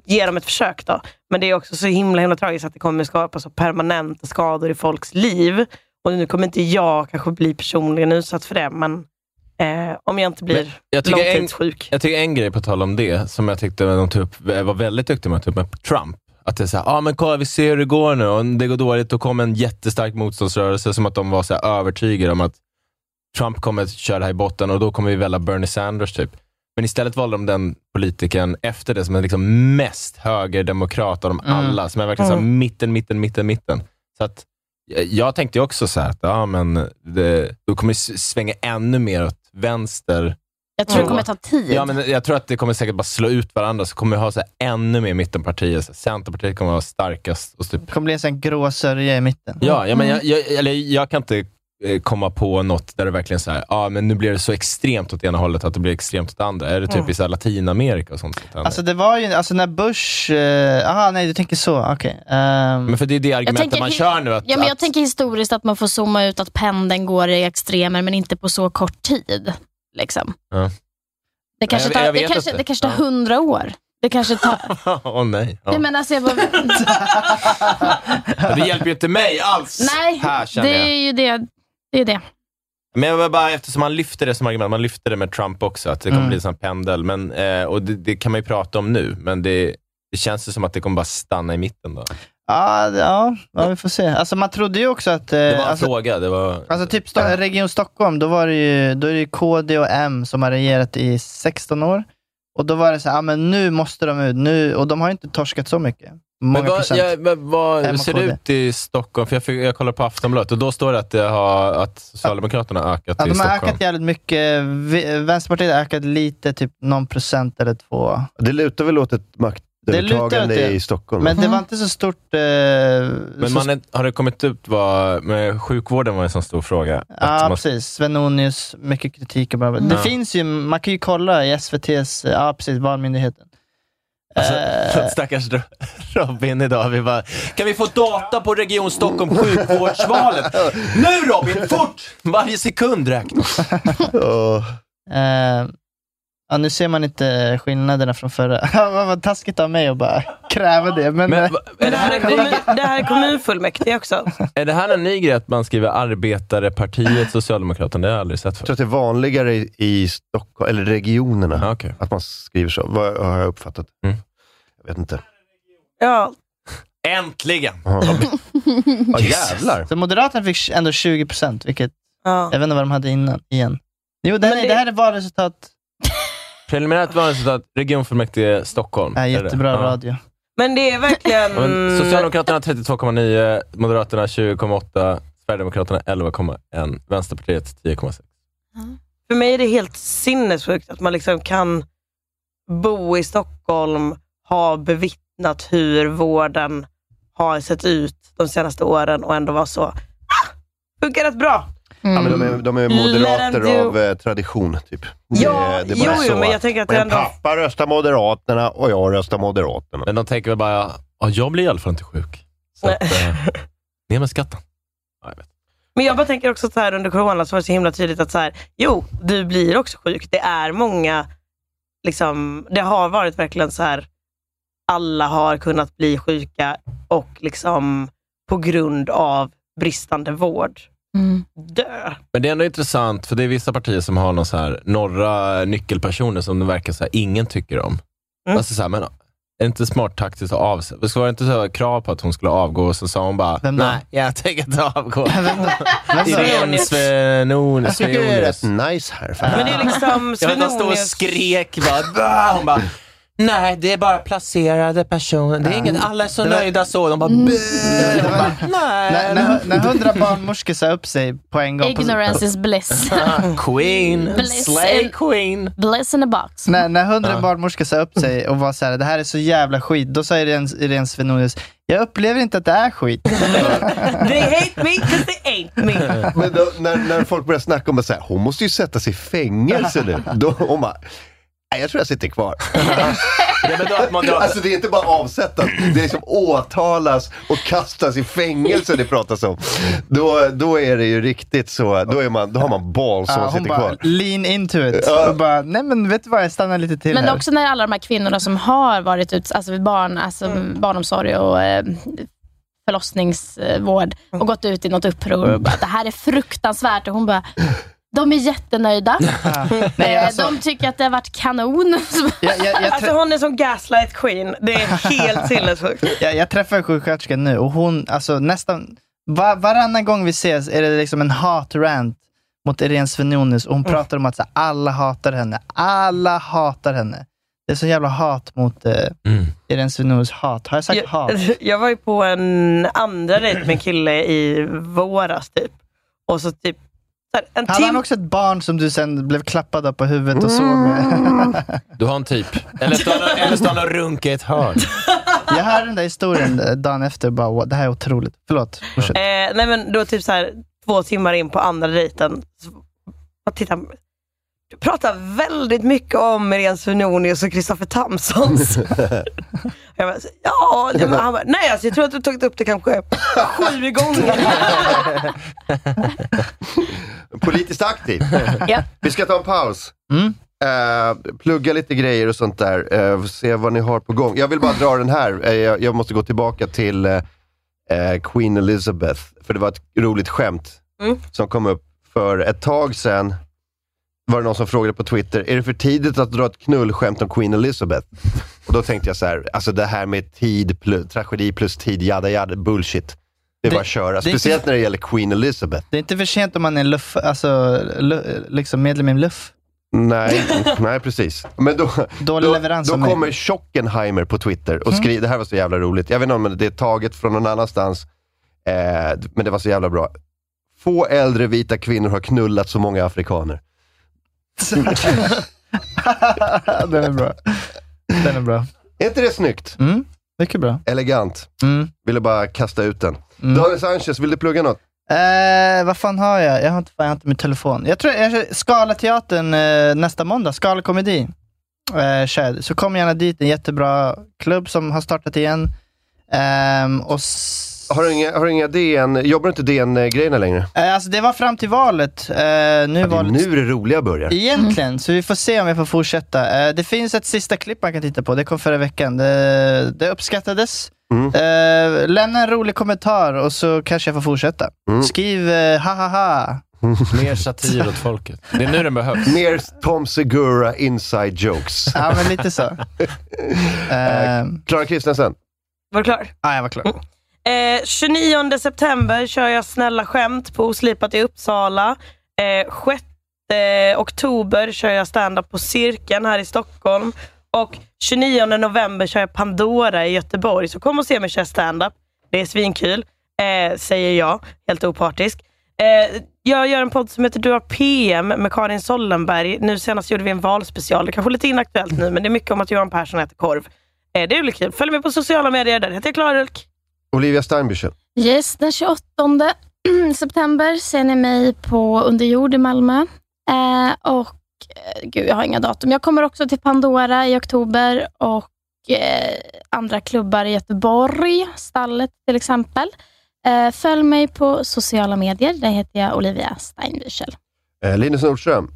ge dem ett försök då. Men det är också så himla himla tragiskt att det kommer skapa så permanenta skador i folks liv. Och nu kommer inte jag kanske bli personligen utsatt för det, men eh, om jag inte blir
Jag tycker, en,
långtidssjuk.
jag tycker en grej på tal om det, som jag tyckte de tog upp, var väldigt duktig med att ta upp, med Trump. Att det är såhär, ah, men kolla vi ser hur det går nu. Och det går dåligt, då kom en jättestark motståndsrörelse, som att de var så här övertygade om att Trump kommer att köra det här i botten och då kommer vi välja Bernie Sanders typ. Men istället valde de den politikern efter det som är liksom mest högerdemokrat av dem
Mm.
alla, som är verkligen så här
Mm.
mitten, mitten, mitten, mitten. Så att jag- jag tänkte ju också så här att ja, men eh, det, du kommer s- svänga ännu mer åt vänster.
Jag tror det kommer ta tid.
Ja, men jag tror att det kommer säkert bara slå ut varandra, så kommer vi ha så här ännu mer mittenpartier. Så här, Centerpartiet kommer vara starkast. Och så typ. Mm.
Det kommer bli en sån här grå sörja i mitten.
Ja, ja, men jag, jag, eller jag kan inte eh, komma på något där det verkligen så här, ja, men nu blir det så extremt åt ena hållet att det blir extremt åt andra. Är det typ i så här Latinamerika och sånt? som händer?
Alltså det var ju, alltså när Bush, eh, aha nej du tänker så, okej. Ehm,
men för det är det argumentet man
hi-
kör nu. Att, (laughs)
ja, men jag
att,
tänker historiskt att man får zooma ut att pendeln går i extremer, men inte på så kort tid. Liksom.
ja.
Det kanske
jag- jag
tar, det
vet
kanske,
inte.
det kanske tar
Ja.
hundra år. Det kanske tar...
Åh nej. (laughs) Ja.
Nej, men alltså jag bara...
(laughs) Ja, Det hjälper ju inte mig alls.
Nej,
här
det
känner jag.
är ju det. det, är det.
Men jag var bara, eftersom man lyfter det som argument, man lyfter det med Trump också, att det kommer
Mm.
bli en sån här pendel. Men, eh, och det, det kan man ju prata om nu, men det, det känns ju som att det kommer bara stanna i mitten.
Eh,
Då.
Ja, det- ja, ja, vi får se. Alltså, man trodde ju också att... eh,
Det var en
alltså,
fråga. Det var...
Alltså typ Sto- Region Stockholm, då, var det ju, då är det ju KD och M som har regerat i 16 år. Och då var det så här, ah, men nu måste de ut. Nu, och de har ju inte torskat så mycket. Många
men vad,
procent.
ja, men
M
vad
och
ser det
KD.
ut i Stockholm? För jag, fick, jag kollade på Aftonbladet och då står det att, det har, att Socialdemokraterna har ökat
Ja,
i
de har
Stockholm.
ökat jävligt mycket. Vi- Vänsterpartiet har ökat lite, typ någon procent eller två.
Det lutar väl åt ett
lutar åt
maktövertagande
det.
i Stockholm?
Men det var inte så stort... Eh,
Men
så
man är, har det kommit ut vad, med sjukvården var en sån stor fråga.
Ja,
man- (laughs)
precis. Svenonius, mycket kritik. Och bla bla.
Mm.
Det
Ja.
finns ju, man kan ju kolla i SVTs, ja precis, Valmyndigheten.
Alltså, stackars Ro- (laughs) Robin idag. Vi bara, kan vi få data på Region Stockholm sjukvårdsvalet? Nu Robin, fort! Varje sekund räknas.
Eh, ja, nu ser man inte skillnaderna från förra. Vad var taskigt av mig att bara kräva det. Men, eh,
Det här, är kommun, det här är kommunfullmäktige också.
Är det här en ny grej att man skriver Arbetarepartiet Socialdemokraterna? Det har jag aldrig sett
Jag
förut.
tror att det är vanligare i- i Stockholm, eller regionerna,
okej.
att man skriver så. Vad har jag uppfattat? Jag vet inte.
Ja.
Äntligen!
Ja, jävlar.
Så Moderaterna fick ändå 20 procent, vilket jag vet inte vad de hade innan, igen. Jo, det,
Men
nej,
det-
det här är valresultat.
Preliminärt valresultat, regionfullmäktige Stockholm.
Ja,
Är det?
Äh, jättebra
Ja.
radio.
Men det är verkligen...
Men Socialdemokraterna 32,9, Moderaterna 20,8, Sverigedemokraterna 11,1, Vänsterpartiet 10,6.
För mig är det helt sinnessjukt att man liksom kan bo i Stockholm, ha bevittnat hur vården har sett ut de senaste åren och ändå vara så, ah, funkar rätt bra.
Ja, men de, är, de är
Mm.
moderater
Men du-
av eh, tradition, typ.
Ja, jo, jo, men jag tänker att det
Min
ändå-
pappa röstar Moderaterna och jag röstar Moderaterna.
Men de tänker väl bara, ja, jag blir i alla fall inte sjuk. Så att, eh, ner med skatten.
Men jag bara tänker också så här under corona så var det så himla tydligt att så här, jo, du blir också sjuk. Det är många, liksom, det har varit verkligen så här, alla har kunnat bli sjuka och liksom på grund av bristande vård
Mm.
dö.
Men det är ändå intressant, för det är vissa partier som har någon så här, några nyckelpersoner som det verkar så här, ingen tycker om. Alltså så här, men, är det inte smart taktiskt att avsätta? Det var det inte så här, krav på att hon skulle avgå och så sa hon bara,
Vem då?
nej, jag tänker inte avgå. eh,
Vem sa-
Irene Svenonius.
Jag tycker det är rätt
nice här.
Men det
(laughs)
är liksom
Jag vet, de stod och
Svenonius-
skrek bara, "Bah!" hon bara, Nej, det är bara placerade personer. Det är ingen, alla är så nöjda så. De bara, "Bäh." Hon bara,
När, när, när hundra barnmorskor sa upp sig på en gång. på-
Ignorance is bliss.
Queen.
bliss
Slay
in-
queen.
Bliss in a box.
När, när hundra
Ja.
barnmorskor sa upp sig och var så här, det här är så jävla skit, då sa Irene, Irene Svenonius, jag upplever inte att det är skit.
They hate me because they ain't me.
Men då, när, när folk börjar snacka om att så här, hon måste ju sätta sig i fängelse nu. Då, hon bara, nej jag tror jag sitter kvar. Alltså det är inte bara avsättas, det är som åtalas och kastas i fängelse det pratas om. Då, då är det ju riktigt så, då, är man, då har man balls
Ja,
som man
hon
sitter
bara,
kvar.
lean into it.
Ja.
Och bara, nej men vet du vad, jag stannar lite till
Men
här.
också när alla de här kvinnorna som har varit ut, alltså vid barn, alltså barnomsorg och eh, förlossningsvård och gått ut i något uppror och bara, det här är fruktansvärt. Och hon bara, de är jättenöjda.
Nej,
Eh,
alltså-
de tycker att det har varit kanon.
alltså hon är som gaslight queen. Det är helt sinnessjukt.
jag, jag träffar en sjuksköterska nu och hon, alltså nästan, va- varannan gång vi ses är det liksom en hat rant mot Irene Svenonius och hon pratar om att så, här, alla hatar henne. Alla hatar henne. Det är så jävla hat mot eh, Irene Svenonius hat. Har jag sagt hat?
(laughs) Jag var ju på en andra dejt med en kille i våras typ. Och så typ så här, en
Hade han
timme
också ett barn som du sen blev klappad av på huvudet och såg?
Du har en typ. Eller står han- eller står han och runkar i ett hörn?
Jag hörde den där historien eh, dagen efter och bara, "Wow, det här är otroligt. Förlåt, fortsätt.
Eh, nej men då typ så här, två timmar in på andra dejten. så- och Titta, du pratar väldigt mycket om Irene Svenonius och Kristoffer (laughs) Tamsons. jag bara, ja, nej, men han bara, nej alltså, jag tror att du tagit upp det kanske sju gånger.
Politiskt
(laughs)
aktiv.
Ja.
Vi ska ta en paus.
Mm.
Eh, plugga lite grejer och sånt där. Eh, se vad ni har på gång. Jag vill bara dra den här. Eh, jag, jag måste gå tillbaka till eh, eh, Queen Elizabeth. För det var ett roligt skämt som kom upp för ett tag sedan var det någon som frågade på Twitter, är det för tidigt att dra ett knullskämt om Queen Elizabeth? Och då tänkte jag så här, alltså det här med tid, plus, tragedi plus tid, jada jada, bullshit. Det är
Det-
bara att köra.
det-
Speciellt när det gäller Queen Elizabeth.
Det är inte för sent om man är luff, alltså, lu, liksom medlem i en luff.
Nej, nej precis. Men då,
Dålig
då,
leverans
då
av mig. Mm.
kommer Schockenheimer på Twitter och skriver, det här var så jävla roligt. Jag vet inte om det är taget från någon annanstans, eh, men det var så jävla bra. Få äldre vita kvinnor har knullat så många afrikaner.
Den är bra. Den är bra.
Är inte det snyggt?
Mm, mycket bra.
Elegant. Ville bara kasta ut den.
Mm.
Daniel Sanchez, vill du plugga något?
Eh, vad fan har jag? Jag har inte, fan, jag har inte min telefon. Jag tror jag kör Scalateatern eh, nästa måndag, Skala komedi. Eh, kör. Så kom gärna dit, en jättebra klubb som har startat igen. Ehm, och s-
Har du inga, har du inga DN, jobbar du inte DN-grejerna längre?
eh, alltså det var fram till valet. Eh, nu är
Det är
valet
nu det roliga börjar.
Egentligen, så vi får se om jag får fortsätta. Eh, Det finns ett sista klipp man kan titta på. Det kom förra veckan. Det, det uppskattades. Eh, Lämna en rolig kommentar och så kanske jag får fortsätta. Skriv eh, ha ha ha.
Mer satir åt folket. Det är nu den behövs.
Mer Tom Segura inside jokes.
Ja, men
(laughs)
lite så.
Eh, Klara Kristensen.
Var du klar?
Ja, jag var klar.
Eh, 29 september kör jag Snälla skämt på Oslipat i Uppsala. Eh, 6 oktober kör jag stand-up på Cirkeln här i Stockholm. Och 29 november kör jag Pandora i Göteborg. Så kom och se mig köra stand-up. Det är svinkul, eh, säger jag. Helt opartisk. Eh, jag gör en podd som heter Du har PM med Karin Sollenberg. Nu senast gjorde vi en valspecial. Det är kanske lite inaktuellt nu, men det är mycket om att Johan Persson äter korv. Eh, det är väl kul. Följ mig på sociala medier. Där heter jag Klara Ulk.
Olivia Steinbüchel.
Yes, den 28 (clears throat) september ser ni mig på Under jord i Malmö. Eh, och eh, Gud, jag har inga datum. Jag kommer också till Pandora i oktober och eh, andra klubbar i Göteborg, Stallet till exempel. Eh, följ mig på sociala medier. Där heter jag Olivia Steinwiesel.
Eh, Linus Nordström.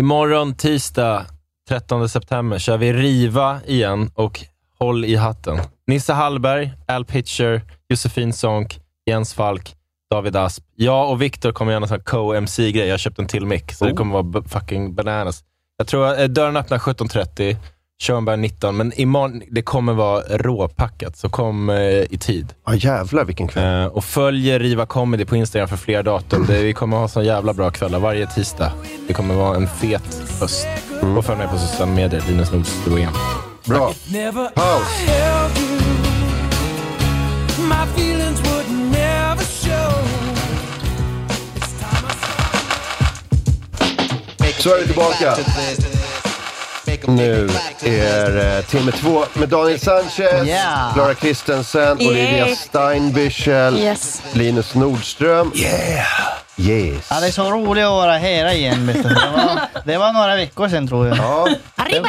Imorgon tisdag 13 september kör vi Riva igen och Håll i hatten. Nisse Hallberg, Al Pitcher, Josefin Sonck, Jens Falk, David Asp. Jag och Viktor kommer göra en sån här co-MC-grej. Jag har köpt en till mic, så det
Oh.
kommer vara b- fucking bananas. Jag tror eh, dörren öppnar 17.30, showen börjar 19, men imorgon det kommer vara råpackat, så kom eh, i tid.
Ja, jävlar vilken
kväll. Eh, och följ Riva Comedy på Instagram för fler datum. Det, vi kommer ha sån jävla bra kvällar varje tisdag. Det kommer vara en fet höst. Och följ mig på sociala medier, Linus Nordström.
Bra.
Never
Paus.
I held you. My feelings would never show.
Så är vi tillbaka. Nu är eh, timme två med Daniel Sanchez,
Yeah.
Clara Kristensen, Olivia
Yeah.
Steinbüchel,
Yes.
Linus Nordström. Yeah. Yes.
Ja, det är så roligt att vara här igen. vet du. Det var, det var några veckor sedan tror jag.
Ja.
Det,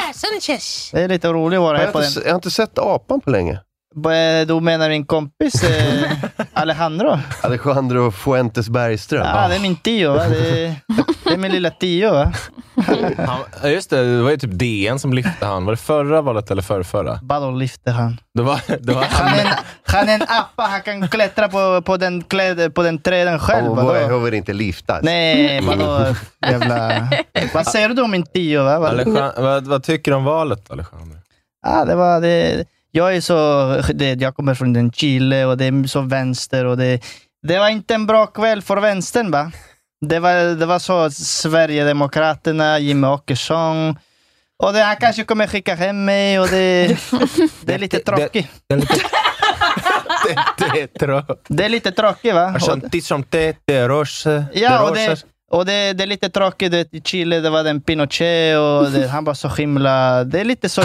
det är lite roligt att vara
Jag
här på
har,
den.
inte, jag har inte sett apan på länge.
B- Då menar min kompis eh, Alejandro.
Alejandro Fuentes Bergström.
Ja, det är min tio. Va? Det, är, det är min lilla tio. Va?
Han, ja, just det, det var ju typ DN som lyfte han. Var det förra valet eller förrförra?
Bara lyfte han.
Det var, det var han.
Han är en appa, han kan klättra på, på, den, kläd, på den träden själv.
Och
vadå?
vad behöver inte lyftas.
Nej, eh, vadå jävla... Vad säger du om min tio? Va? Vad-
Alexan- vad, vad tycker du om valet, Alexander?
Ja, det var, det, jag är så... Det, jag kommer från den Chile och det är så vänster och det... Det var inte en bra kväll för vänstern, va? Det var, det var så Sverigedemokraterna, Jimmie Åkesson. Och det, han kanske kommer skicka hem mig och (laughs) det... Det är lite tråkigt.
(laughs) Det är tråkigt.
Det är lite tråkigt, va? Och-
Argenti som te, te roche.
Ja, och, det, och det, det är lite tråkigt. Det, I Chile det var den Pinochet och det, han var så himla... Det är lite (laughs) så...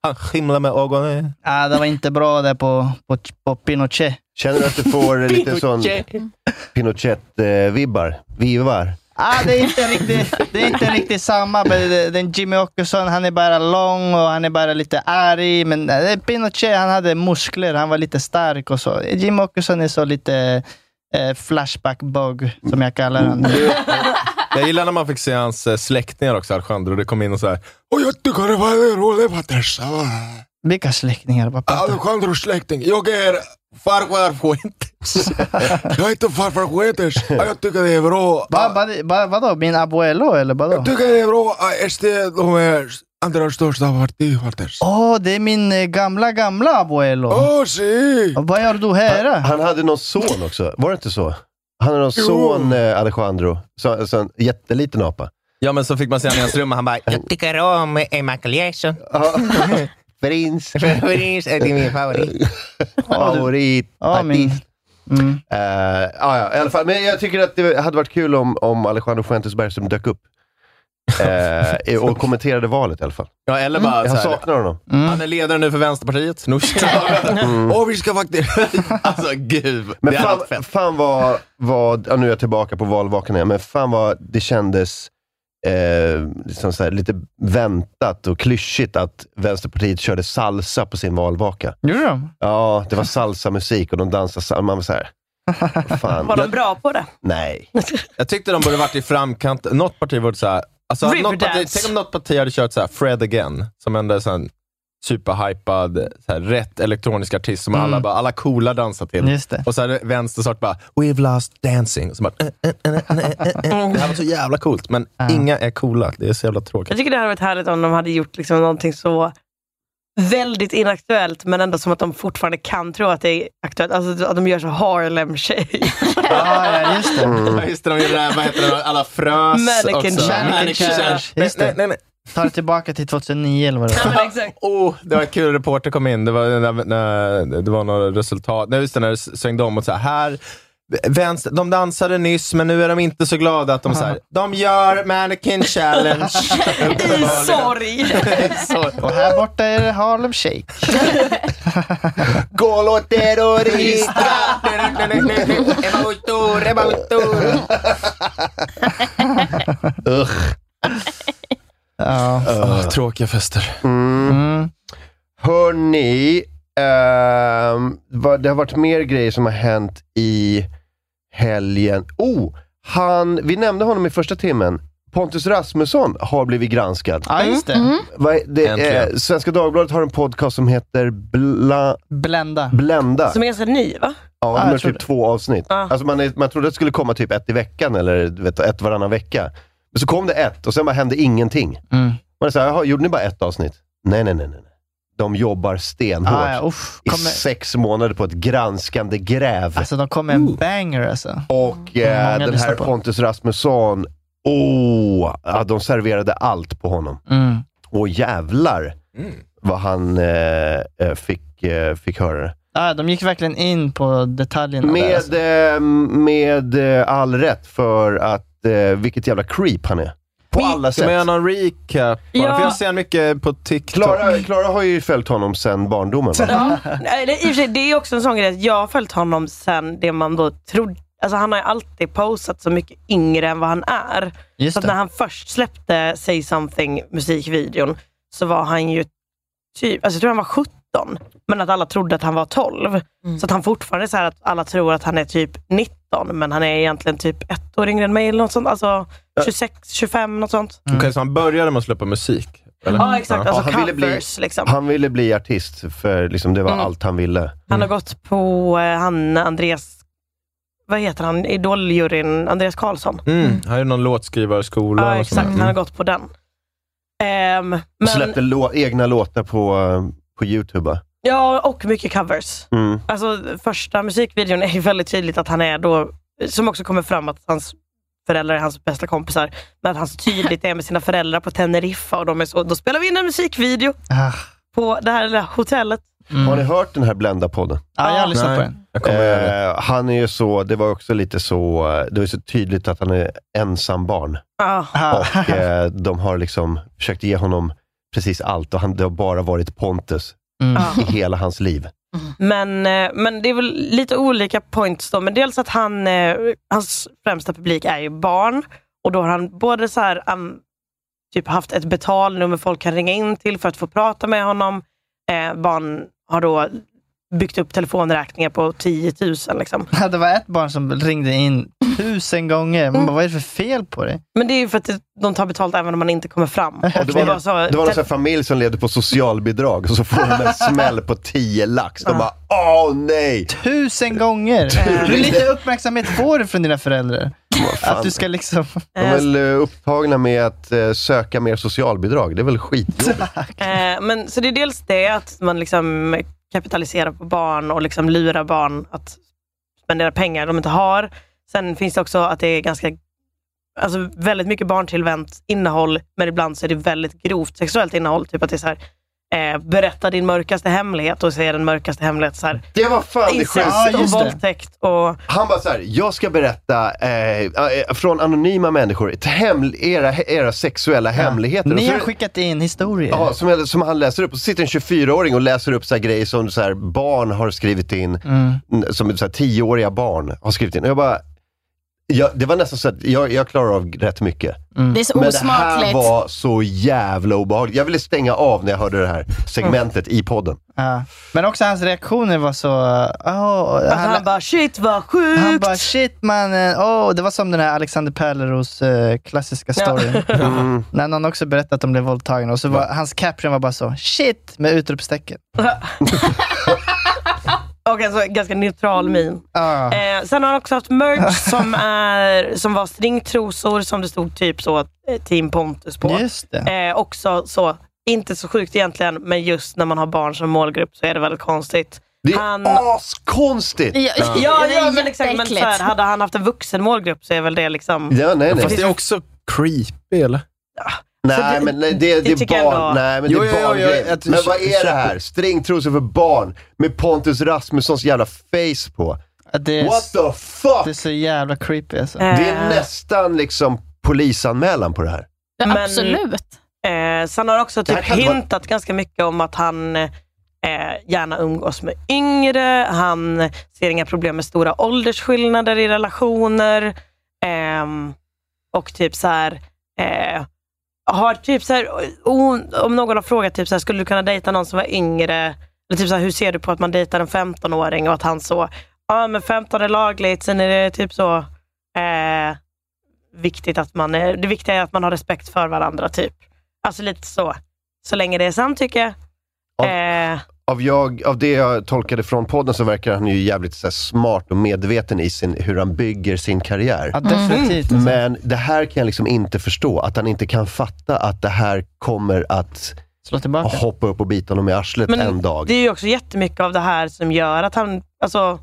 han himlade med ögonen.
Ja, det var inte bra där på, på, på Pinochet.
Känner du att du får lite sån Pinochet-vibbar? Vivar?
Ah, det, är inte riktigt, det är inte riktigt samma. men det- Den Jimmy Åkesson, han är bara lång och han är bara lite arg. Men eh, Pinochet, han hade muskler. Han var lite stark och så. Jimmy Åkesson är så lite eh, flashback-bug, som jag kallar honom.
Jag gillar när man fick se hans eh, släktingar också, Alexander, och det kom in och så här. Och jag tycker det var roligt att dessa.
Vilka släktingar? Vad pratar du om?
Alexandros släkting. Jag är
Farfar Fuentes. jag heter Farfar Fuentes och jag tycker det är bra.
Va, va, va, vadå, min abuelo eller vadå?
Jag tycker det är bra att SD de är andra största partiet.
Åh, det är min eh, gamla, gamla abuelo.
Åh, si!
Vad gör du här?
Han hade någon son också, var det inte så? Han hade någon
Jo.
son, eh, Alejandro. Så, så en jätteliten apa.
Ja, men så fick man se honom i hans rum och han bara, jag tycker om emaskulation.
(laughs) Prins.
Prins är det min
(laughs)
favorit.
Favorit.
Ja, min. Mm.
Eh, ja, ja, i alla fall. Men jag tycker att det hade varit kul om, om Alejandro Fuentes Bergström dök upp. Eh, och kommenterade valet i alla fall.
Ja, eller bara
Mm. Jag
så här,
saknar honom.
Han är ledare nu för Vänsterpartiet. Nu
(laughs) Mm.
Och vi ska faktiskt... (laughs) alltså gud.
Men
det hade varit
fan, fan vad, vad ja, nu är jag tillbaka på valvakan igen, men fan vad det kändes eh, liksom så här, lite väntat och klyschigt att Vänsterpartiet körde salsa på sin valvaka.
Gjorde de?
Ja, det var salsa-musik och de dansade salsa. Man var så här, fan.
Var de bra på det?
Nej.
Jag tyckte de borde varit i framkant. Något parti borde såhär... Alltså, hade något parti,
Riverdance.
tänk om något parti hade kört såhär Fred again, som ändå är såhär superhypad, såhär, rätt elektronisk artist som
Mm.
alla, bara, alla coola dansar till.
Just det.
Och så hade vänster sagt bara “We've lost dancing”. Och så bara, eh, eh, eh, eh, eh, eh. det här var så jävla coolt, men inga är coola. Det är så jävla tråkigt.
Jag tycker det hade varit härligt om de hade gjort liksom någonting så väldigt inaktuellt, men ändå som att de fortfarande kan tro att det är aktuellt. Alltså att de gör så Harlem-tjej. (laughs)
Ja, ja, just det.
(laughs) Ja, just det, de gjorde det här, vad heter det, alla frös
Mannequin
också.
challenge.
Mannequin challenge.
Just det. Tar det tillbaka till 2009 eller vad det var.
Oh, det var en kul reporter kom in. Det var, när, när, det var några resultat. Nej, just det, när det svängde om och så här, här Vänster, de dansade nyss, men nu är de inte så glada att de så här, de gör mannequin challenge.
(laughs) I sorg!
Och här borta är det Harlem Shake.
Golo terrorista! Revolutor, revolutor.
Ugh.
ja.
tråkiga fester.
Mm. Hörni, ehm, vad- det har varit mer grejer som har hänt i helgen. Oh, han, vi nämnde honom i första timmen. Pontus Rasmusson har blivit granskad.
Ja, just det. Mm.
Vad- det
Äntligen.
eh, Svenska Dagbladet har en podcast som heter Bla,
Blända.
Blända.
Som är ganska ny va?
Ja,
jag
de har
tror
typ två avsnitt. Alltså man, är, man trodde att det skulle komma typ ett i veckan eller du vet, ett varannan vecka. Men så kom det ett och sen bara hände ingenting.
Mm.
Man är så här, "Jaha, gjorde ni bara ett avsnitt? Nej, nej, nej. nej. nej. De jobbar stenhårt
Ah, ja, uff.
i
Kommer-
sex månader på ett granskande gräv.
Alltså de kom med en banger alltså.
och
Många
eh, den
lyssnar
här
på.
Pontus Rasmusson, åh, ja, de serverade allt på honom.
Mm.
Och jävlar vad han eh, eh, fick, eh, fick höra det.
Ah, de gick verkligen in på detaljerna där. Alltså.
Med, eh, med eh, all rätt för att, eh, vilket jävla creep han är. På alla
Ska
sätt.
man göra någon recap? bara?
Ja.
För jag ser mycket på TikTok.
Klara, Klara har ju följt honom sedan barndomen. Va?
Ja. Nej, det, i och för sig, det är också en sån grej att jag har följt honom sen det man då trodde. Alltså han har ju alltid posat så mycket yngre än vad han är.
Just
så att
det.
när han först släppte Say something musikvideon så var han ju typ, alltså jag tror han var 17. Men att alla trodde att han var 12. Så att han fortfarande är så här att alla tror att han är typ 19 men han är egentligen typ ett år yngre än mig eller något sånt. Alltså 26, 25 något sånt.
Mm. Okej, så han började med att släppa musik? eller?
Ja exakt, alltså
han, ville bli,
covers liksom.
han ville bli artist, för liksom, det var
Mm.
allt han ville.
Han
Mm.
har gått på eh, han Andreas, vad heter han, idoljuryn Andreas Karlsson.
Mm. Han gjorde någon låtskrivarskola.
Ja,
och Mm. sånt där.
exakt. Han
Mm.
har gått på den. Ehm,
Och
men,
släppte lå- egna låtar på, eh, på YouTube. va?
ja, och mycket covers.
Mm.
Alltså första musikvideon är ju väldigt tydligt att han är då, som också kommer fram att hans föräldrar är hans bästa kompisar, men att han så tydligt är med sina föräldrar på Teneriffa och de är så, då spelar vi in en musikvideo
Ah.
på det här lilla hotellet.
Har ni hört den här Blända-podden?
Ja, jag har lyssnat
Nej.
på den.
Eh, han är ju så, det var också lite så, eh, det var ju så tydligt att han är ensam barn.
Ja.
Och eh, de har liksom försökt ge honom precis allt och han, det har bara varit Pontus
Mm.
i hela hans liv.
Men, eh, men det är väl lite olika points då. Men dels att han, eh, hans främsta publik är ju barn. Och då har han både så här, an- typ haft ett betalnummer folk kan ringa in till för att få prata med honom. Eh, barn har då byggt upp telefonräkningar på 10 000. Liksom.
Ja, Det var ett barn som ringde in tusen gånger. Man bara, vad är det för fel på dig?
Mm. Men det är ju för att det- de tar betalt även om man inte kommer fram. Och
Det var, det var, någon sån här familj som levde på socialbidrag och så får de en smäll på 10 lax. De bara, åh nej!
Tusen gånger! Hur lite uppmärksamhet får du från dina föräldrar?
fan.
Att du ska liksom...
De är väl eh, upptagna med att eh, söka mer socialbidrag. Det är väl skitjobbigt.
Eh, men, så det är dels det att man liksom kapitaliserar på barn och liksom lurar barn att spendera pengar de inte har. Sen finns det också att det är ganska alltså väldigt mycket barntillvänt innehåll, men ibland så är det väldigt grovt sexuellt innehåll. Typ att det är så här, eh, berätta din mörkaste hemlighet och säga den mörkaste hemlighet. Så här,
det var fan det sjukaste.
Incest
Ja,
och
just det.
våldtäkt. Och,
Han bara såhär, jag ska berätta eh, eh, från anonyma människor, ett hem, era, era sexuella hemligheter. Och
Ni
så-
har skickat in historier.
Ja, som, jag- som han läser upp. Och så sitter en 24-åring och läser upp så här grejer som så här barn har skrivit in.
Mm.
n- Som så här 10-åriga barn har skrivit in. Och jag bara, jag, det var nästan så att jag, jag klarar av rätt mycket.
Mm.
Det är så
Men det här
osmakligt.
var så jävla obehagligt. Jag ville stänga av när jag hörde det här segmentet i podden.
Ja. Men också hans reaktioner var så... Oh,
att han, bara, shit vad sjukt!
Han bara shit mannen, oh, det var som den här Alexander Pärleros eh, klassiska
Ja.
storyn.
Mm.
När någon också berättade att de blev våldtagna och så var, hans caption var bara så shit med utropstecken.
Och alltså en ganska neutral min. Eh, sen har han också haft merch som, är, som var stringtrosor som det stod typ så eh, Team Pontus på.
Just
Eh, också så, inte så sjukt egentligen, men just när man har barn som målgrupp så är det väldigt konstigt.
Det är
han...
askonstigt!
Ja, ja, ja men exakt. Men så här, hade han haft en vuxen målgrupp så är väl det liksom...
Ja, nej, nej.
Fast det är också creepy, eller?
Nej, men nej, det, det är
tycker jag
barn.
ändå-
Nej, men
Jo,
det
jo, jo,
är
jo,
barngrejer.
jag-
Men vad är det här? Stringtrosor för barn med Pontus Rasmussons jävla face på.
Det är,
What the fuck?
Det är så jävla creepy alltså.
Det
eh,
är nästan liksom polisanmälan på det här.
Ja,
absolut.
Eh, sen har han också
Det
typ
här kan vara-
hintat ganska mycket om att han eh, gärna umgås med yngre. Han ser inga problem med stora åldersskillnader i relationer. Ehm, och typ så här... Eh, har typ så här o- om någon har frågat typ så här, skulle du kunna dejta någon som var yngre? Eller typ så här, hur ser du på att man dejtar en 15-åring? Och att han så, ja men 15 är lagligt, sen är det typ så... Eh, viktigt att man är, det viktiga är att man har respekt för varandra. typ. Alltså lite så. Så länge det är samtycke. Eh,
Av, jag, av det jag tolkade från podden så verkar han ju jävligt så här, smart och medveten i sin, hur han bygger sin karriär.
Ja, definitivt. Mm.
Men det här kan jag liksom inte förstå. Att han inte kan fatta att det här kommer att
Slå tillbaka.
hoppa upp och bita honom i arslet
men
en dag.
det är ju också jättemycket av det här som gör att han, alltså,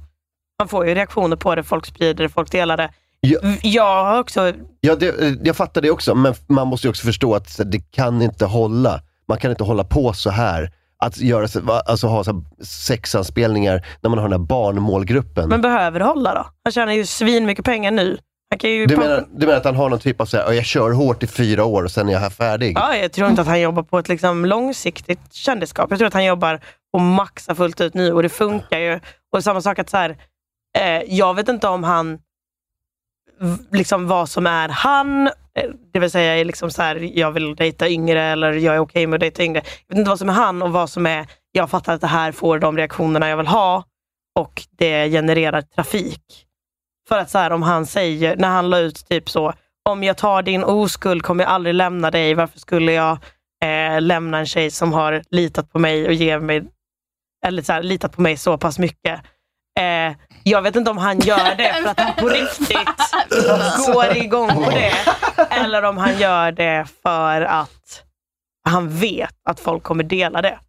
man får ju reaktioner på det. Folk sprider det, folk delar det.
Jag,
jag har också...
Ja, det, jag fattar det också, men man måste ju också förstå att så, det kan inte hålla. Man kan inte hålla på så här. Att göra, så- va- alltså ha så här sexanspelningar när man har den här barnmålgruppen.
Men behöver det hålla då? Han tjänar ju svin mycket pengar nu. Han kan ju
du, menar, du menar att han har någon typ av så här, "Ja, jag kör hårt i fyra år och sen är jag här färdig?
Ja, jag tror inte att han jobbar på ett liksom långsiktigt kändisskap. Jag tror att han jobbar och maxar fullt ut nu och det funkar ju. Och samma sak att så här, eh, jag vet inte om han v- liksom vad som är han. eh, Det vill säga är liksom så här, jag vill dejta yngre eller jag är okej med att dejta yngre. Jag vet inte vad som är han och vad som är, jag fattar att det här får de reaktionerna jag vill ha och det genererar trafik. För att så här, om han säger, när han la ut typ så, om jag tar din oskuld kommer jag aldrig lämna dig. Varför skulle jag eh, lämna en tjej som har litat på mig och ger mig, eller så här, litat på mig så pass mycket? Eh, jag vet inte om han gör det för att han på riktigt går igång på det. Eller om han gör det för att han vet att folk kommer dela det.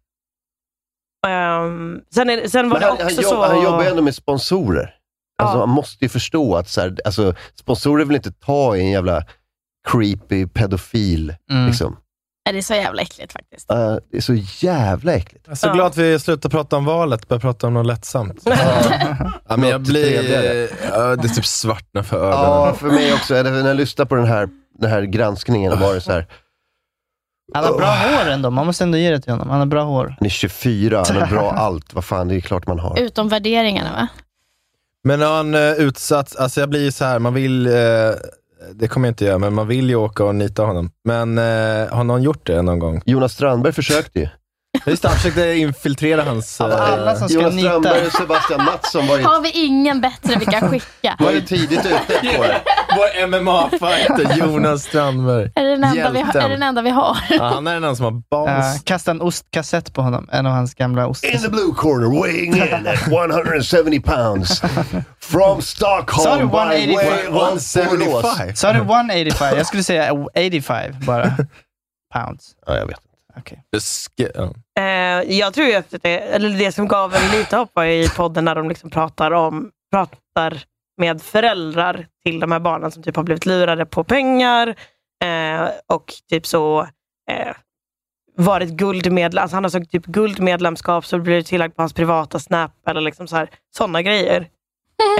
Ehm, sen, är, sen var
Men
det
han,
också
han, jobb,
så...
han jobbar ju ändå med sponsorer. Alltså,
Ja.
Man måste ju förstå att så här, alltså, sponsorer vill inte ta i en jävla creepy pedofil.
Mm.
Liksom.
Ja, Det är så jävla äckligt faktiskt.
Eh, det är så jävla äckligt.
Jag är så glad att vi slutar prata om valet, börjar prata om något
(laughs)
lättsamt.
Ja, men jag
Något
blir...
trevligare.
Ja, det typ svartnar för ögonen.
Ja, för mig också. Eller När jag lyssnade på den här, den här granskningen var det så här,
Han har bra hår ändå, man måste ändå ge det till honom. Han har bra hår.
han är 24, han är bra
(laughs)
allt. Vad fan, det är klart man har.
Utom värderingarna va?
Men har han eh, utsatts, alltså jag blir ju så här, man vill, eh, det kommer jag inte göra, men man vill ju åka och nita honom. Men eh, har någon gjort det någon gång?
Jonas Strandberg försökte ju.
Just det, han försökte infiltrera hans... eh,
alla som ska
Jonas
nita.
Strömberg och Sebastian Mattsson var ju,
Har vi ingen bättre vi kan skicka?
(laughs) var ju tidigt ute på det.
(laughs) Vår MMA-fighter, Jonas Strandberg.
Är det den enda, vi, har- är det den enda vi har?
Ja, han är den enda som har
Eh,
balls.
kasta en ostkassett på honom, en av hans gamla ost.
In the blue corner, weighing
(laughs)
in at 170 pounds. From Stockholm
Sorry,
by way of
185.
Borås.
Sorry, 185. Jag skulle säga 85
(laughs)
bara. Pounds.
Ja, jag vet.
Det ska- ja.
Eh, jag tror ju att det, eller det som gav en lite hopp var ju i podden när de liksom pratar om pratar med föräldrar till de här barnen som typ har blivit lurade på pengar eh, och typ så eh, varit guldmedlem. Alltså han har sökt typ guldmedlemskap så blir det tillägg på hans privata Snap eller liksom så här, sådana grejer.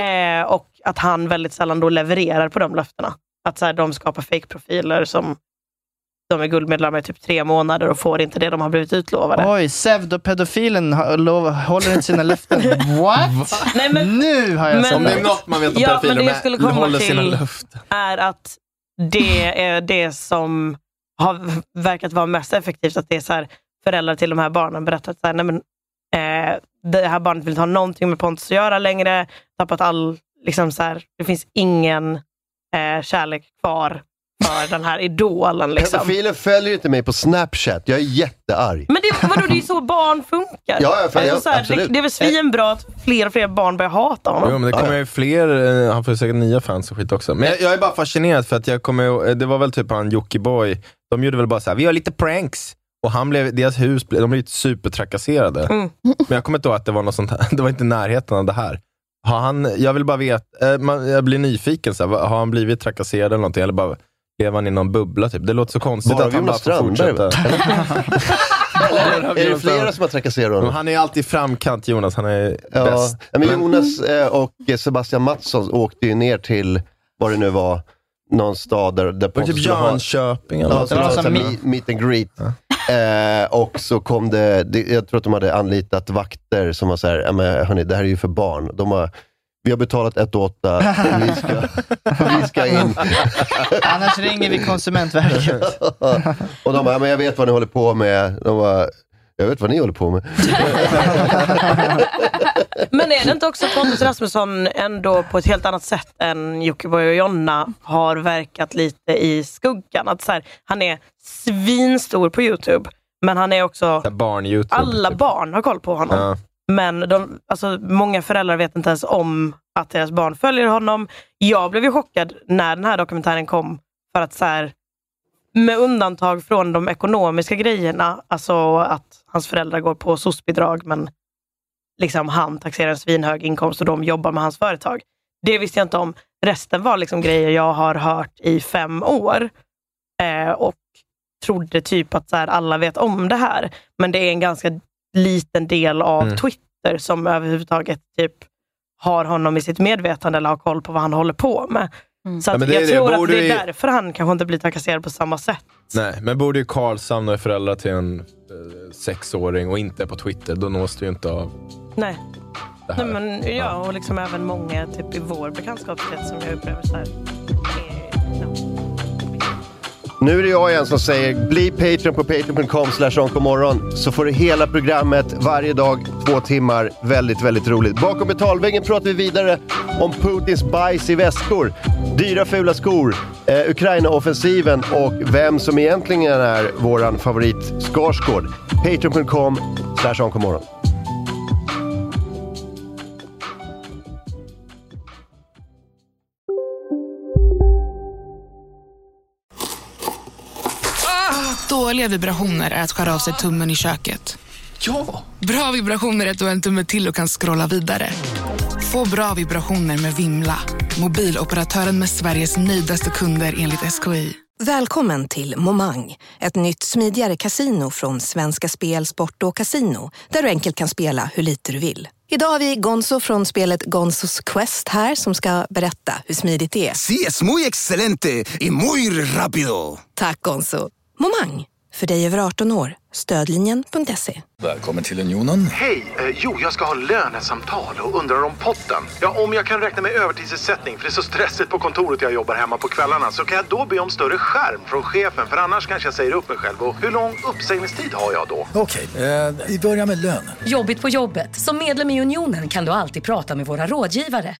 Eh, och att han väldigt sällan då levererar på de löftena. Att så här, de skapar fake-profiler som de är guldmedlemmar i typ tre månader och får inte det de har blivit utlovade.
Oj, pseudopedofilen har- lov- håller inte sina
(laughs)
löften. What?
Nej, men,
nu har jag
men-
somnat.
ja, men det jag skulle komma till är att det är det som har verkat vara mest effektivt. Att det är så här, föräldrar till de här barnen berättar att så här, nej men, eh, det här barnet vill inte ha någonting med Pontus att göra längre. Tappat all, liksom så här, det finns ingen eh, kärlek kvar för den här idolen.
(laughs)
Liksom.
Pedofilen följer inte mig på Snapchat. Jag är jättearg.
Men det, vadå, det är ju så barn funkar. Alltså
Ja, ja, för- ja,
så här, det,
absolut.
det är väl svinbra att fler och fler barn börjar hata honom.
Jo, men det kommer ju fler, eh, han får ju säkert nya fans och skit också. Men jag, jag är bara fascinerad för att jag kommer ihåg- eh, det var väl typ han Jockiboi, de gjorde väl bara så här: vi gör lite pranks. Och han blev, deras hus, blev- de blev ju supertrakasserade.
Mm.
Men jag kommer inte ihåg att det var något sånt här, (laughs) det var inte i närheten av det här. Har han, jag vill bara veta, eh, man, jag blir nyfiken, så här, vad- har han blivit trakasserad eller någonting? Eller bara, lever han i någon bubbla typ? Det låter så konstigt
Bara
att han bara
Jonas
får
Strandberg,
fortsätta.
Är det flera som har trakasserat honom?
Han är alltid i framkant Jonas, han är
Ja,
bäst.
men Jonas eh, och eh, Sebastian Mattsson åkte ju ner till, vad det nu var, någon stad där, där
typ
skulle ha-
Jönköping eller
Ja,
något.
så det var
Det var
så här
som-
meet, meet and greet. Eh, och så kom det, det, jag tror att de hade anlitat vakter som var så här, "Ja, men hörni, det här är ju för barn. De har, vi har betalat 108, vi ska, vi ska in.
(laughs) Annars ringer vi Konsumentverket.
(laughs) och de bara, "Ja, men jag vet vad ni håller på med. De bara, jag vet vad ni håller på med.
Men är det inte också Pontus Rasmusson ändå på ett helt annat sätt än Jockiboi och Jonna har verkat lite i skuggan? Att så här, han är svinstor på Youtube, men han är också...
Barn-youtube. typ.
Alla barn har koll på honom.
Ja.
Men de, alltså, många föräldrar vet inte ens om att deras barn följer honom. Jag blev ju chockad när den här dokumentären kom. För att så här, med undantag från de ekonomiska grejerna, alltså att hans föräldrar går på soc-bidrag, men liksom han taxerar en svinhög inkomst och de jobbar med hans företag. Det visste jag inte om. Resten var liksom grejer jag har hört i fem år eh, och trodde typ att så här, alla vet om det här. Men det är en ganska liten del av
Mm.
Twitter som överhuvudtaget typ har honom i sitt medvetande eller har koll på vad han håller på med. Så
Ja,
att
men det är
jag
det.
tror att
Borde
det
vi-
är därför han kanske inte blir trakasserad på samma sätt.
Nej, men borde ju Karlshamn och är föräldrar till en eh, sexåring och inte är på Twitter, då nås du ju inte av
Nej.
det här.
Nej, men ja, och liksom även många typ, i vår bekantskapskrets som jag upplever så här.
Nu är det jag igen som säger bli Patreon på patreon.com slash onkomorron så får du hela programmet varje dag, två timmar. Väldigt, väldigt roligt. Bakom betalväggen pratar vi vidare om Putins bajs i väskor, dyra fula skor, eh, Ukraina-offensiven och vem som egentligen är våran favorit Skarsgård. Patreon.com slash onkomorron.
Dåliga vibrationer är att skära av sig tummen i köket. Ja! Bra vibrationer är att du har en tumme till och kan scrolla vidare. Få bra vibrationer med Vimla. Mobiloperatören med Sveriges nöjdaste kunder enligt SKI.
Välkommen till Momang, ett nytt smidigare casino från Svenska Spel, Sport och Casino, där du enkelt kan spela hur lite du vill. Idag har vi Gonzo från spelet Gonzos Quest här som ska berätta hur smidigt det är.
Sí, es muy excelente y muy rápido.
Tack Gonzo. Momang,
För dig över 18 år, stödlinjen.se.
Välkommen till Unionen.
Hej! Eh, jo, jag ska ha lönesamtal och undrar om potten. Ja, om jag kan räkna med övertidsersättning för det är så stressigt på kontoret jag jobbar hemma på kvällarna så kan jag då be om större skärm från chefen för annars kanske jag säger upp mig själv. Och hur lång uppsägningstid har jag då?
Okej, eh, vi börjar med lön.
Jobbigt på jobbet. Som medlem i Unionen kan du alltid prata med våra rådgivare.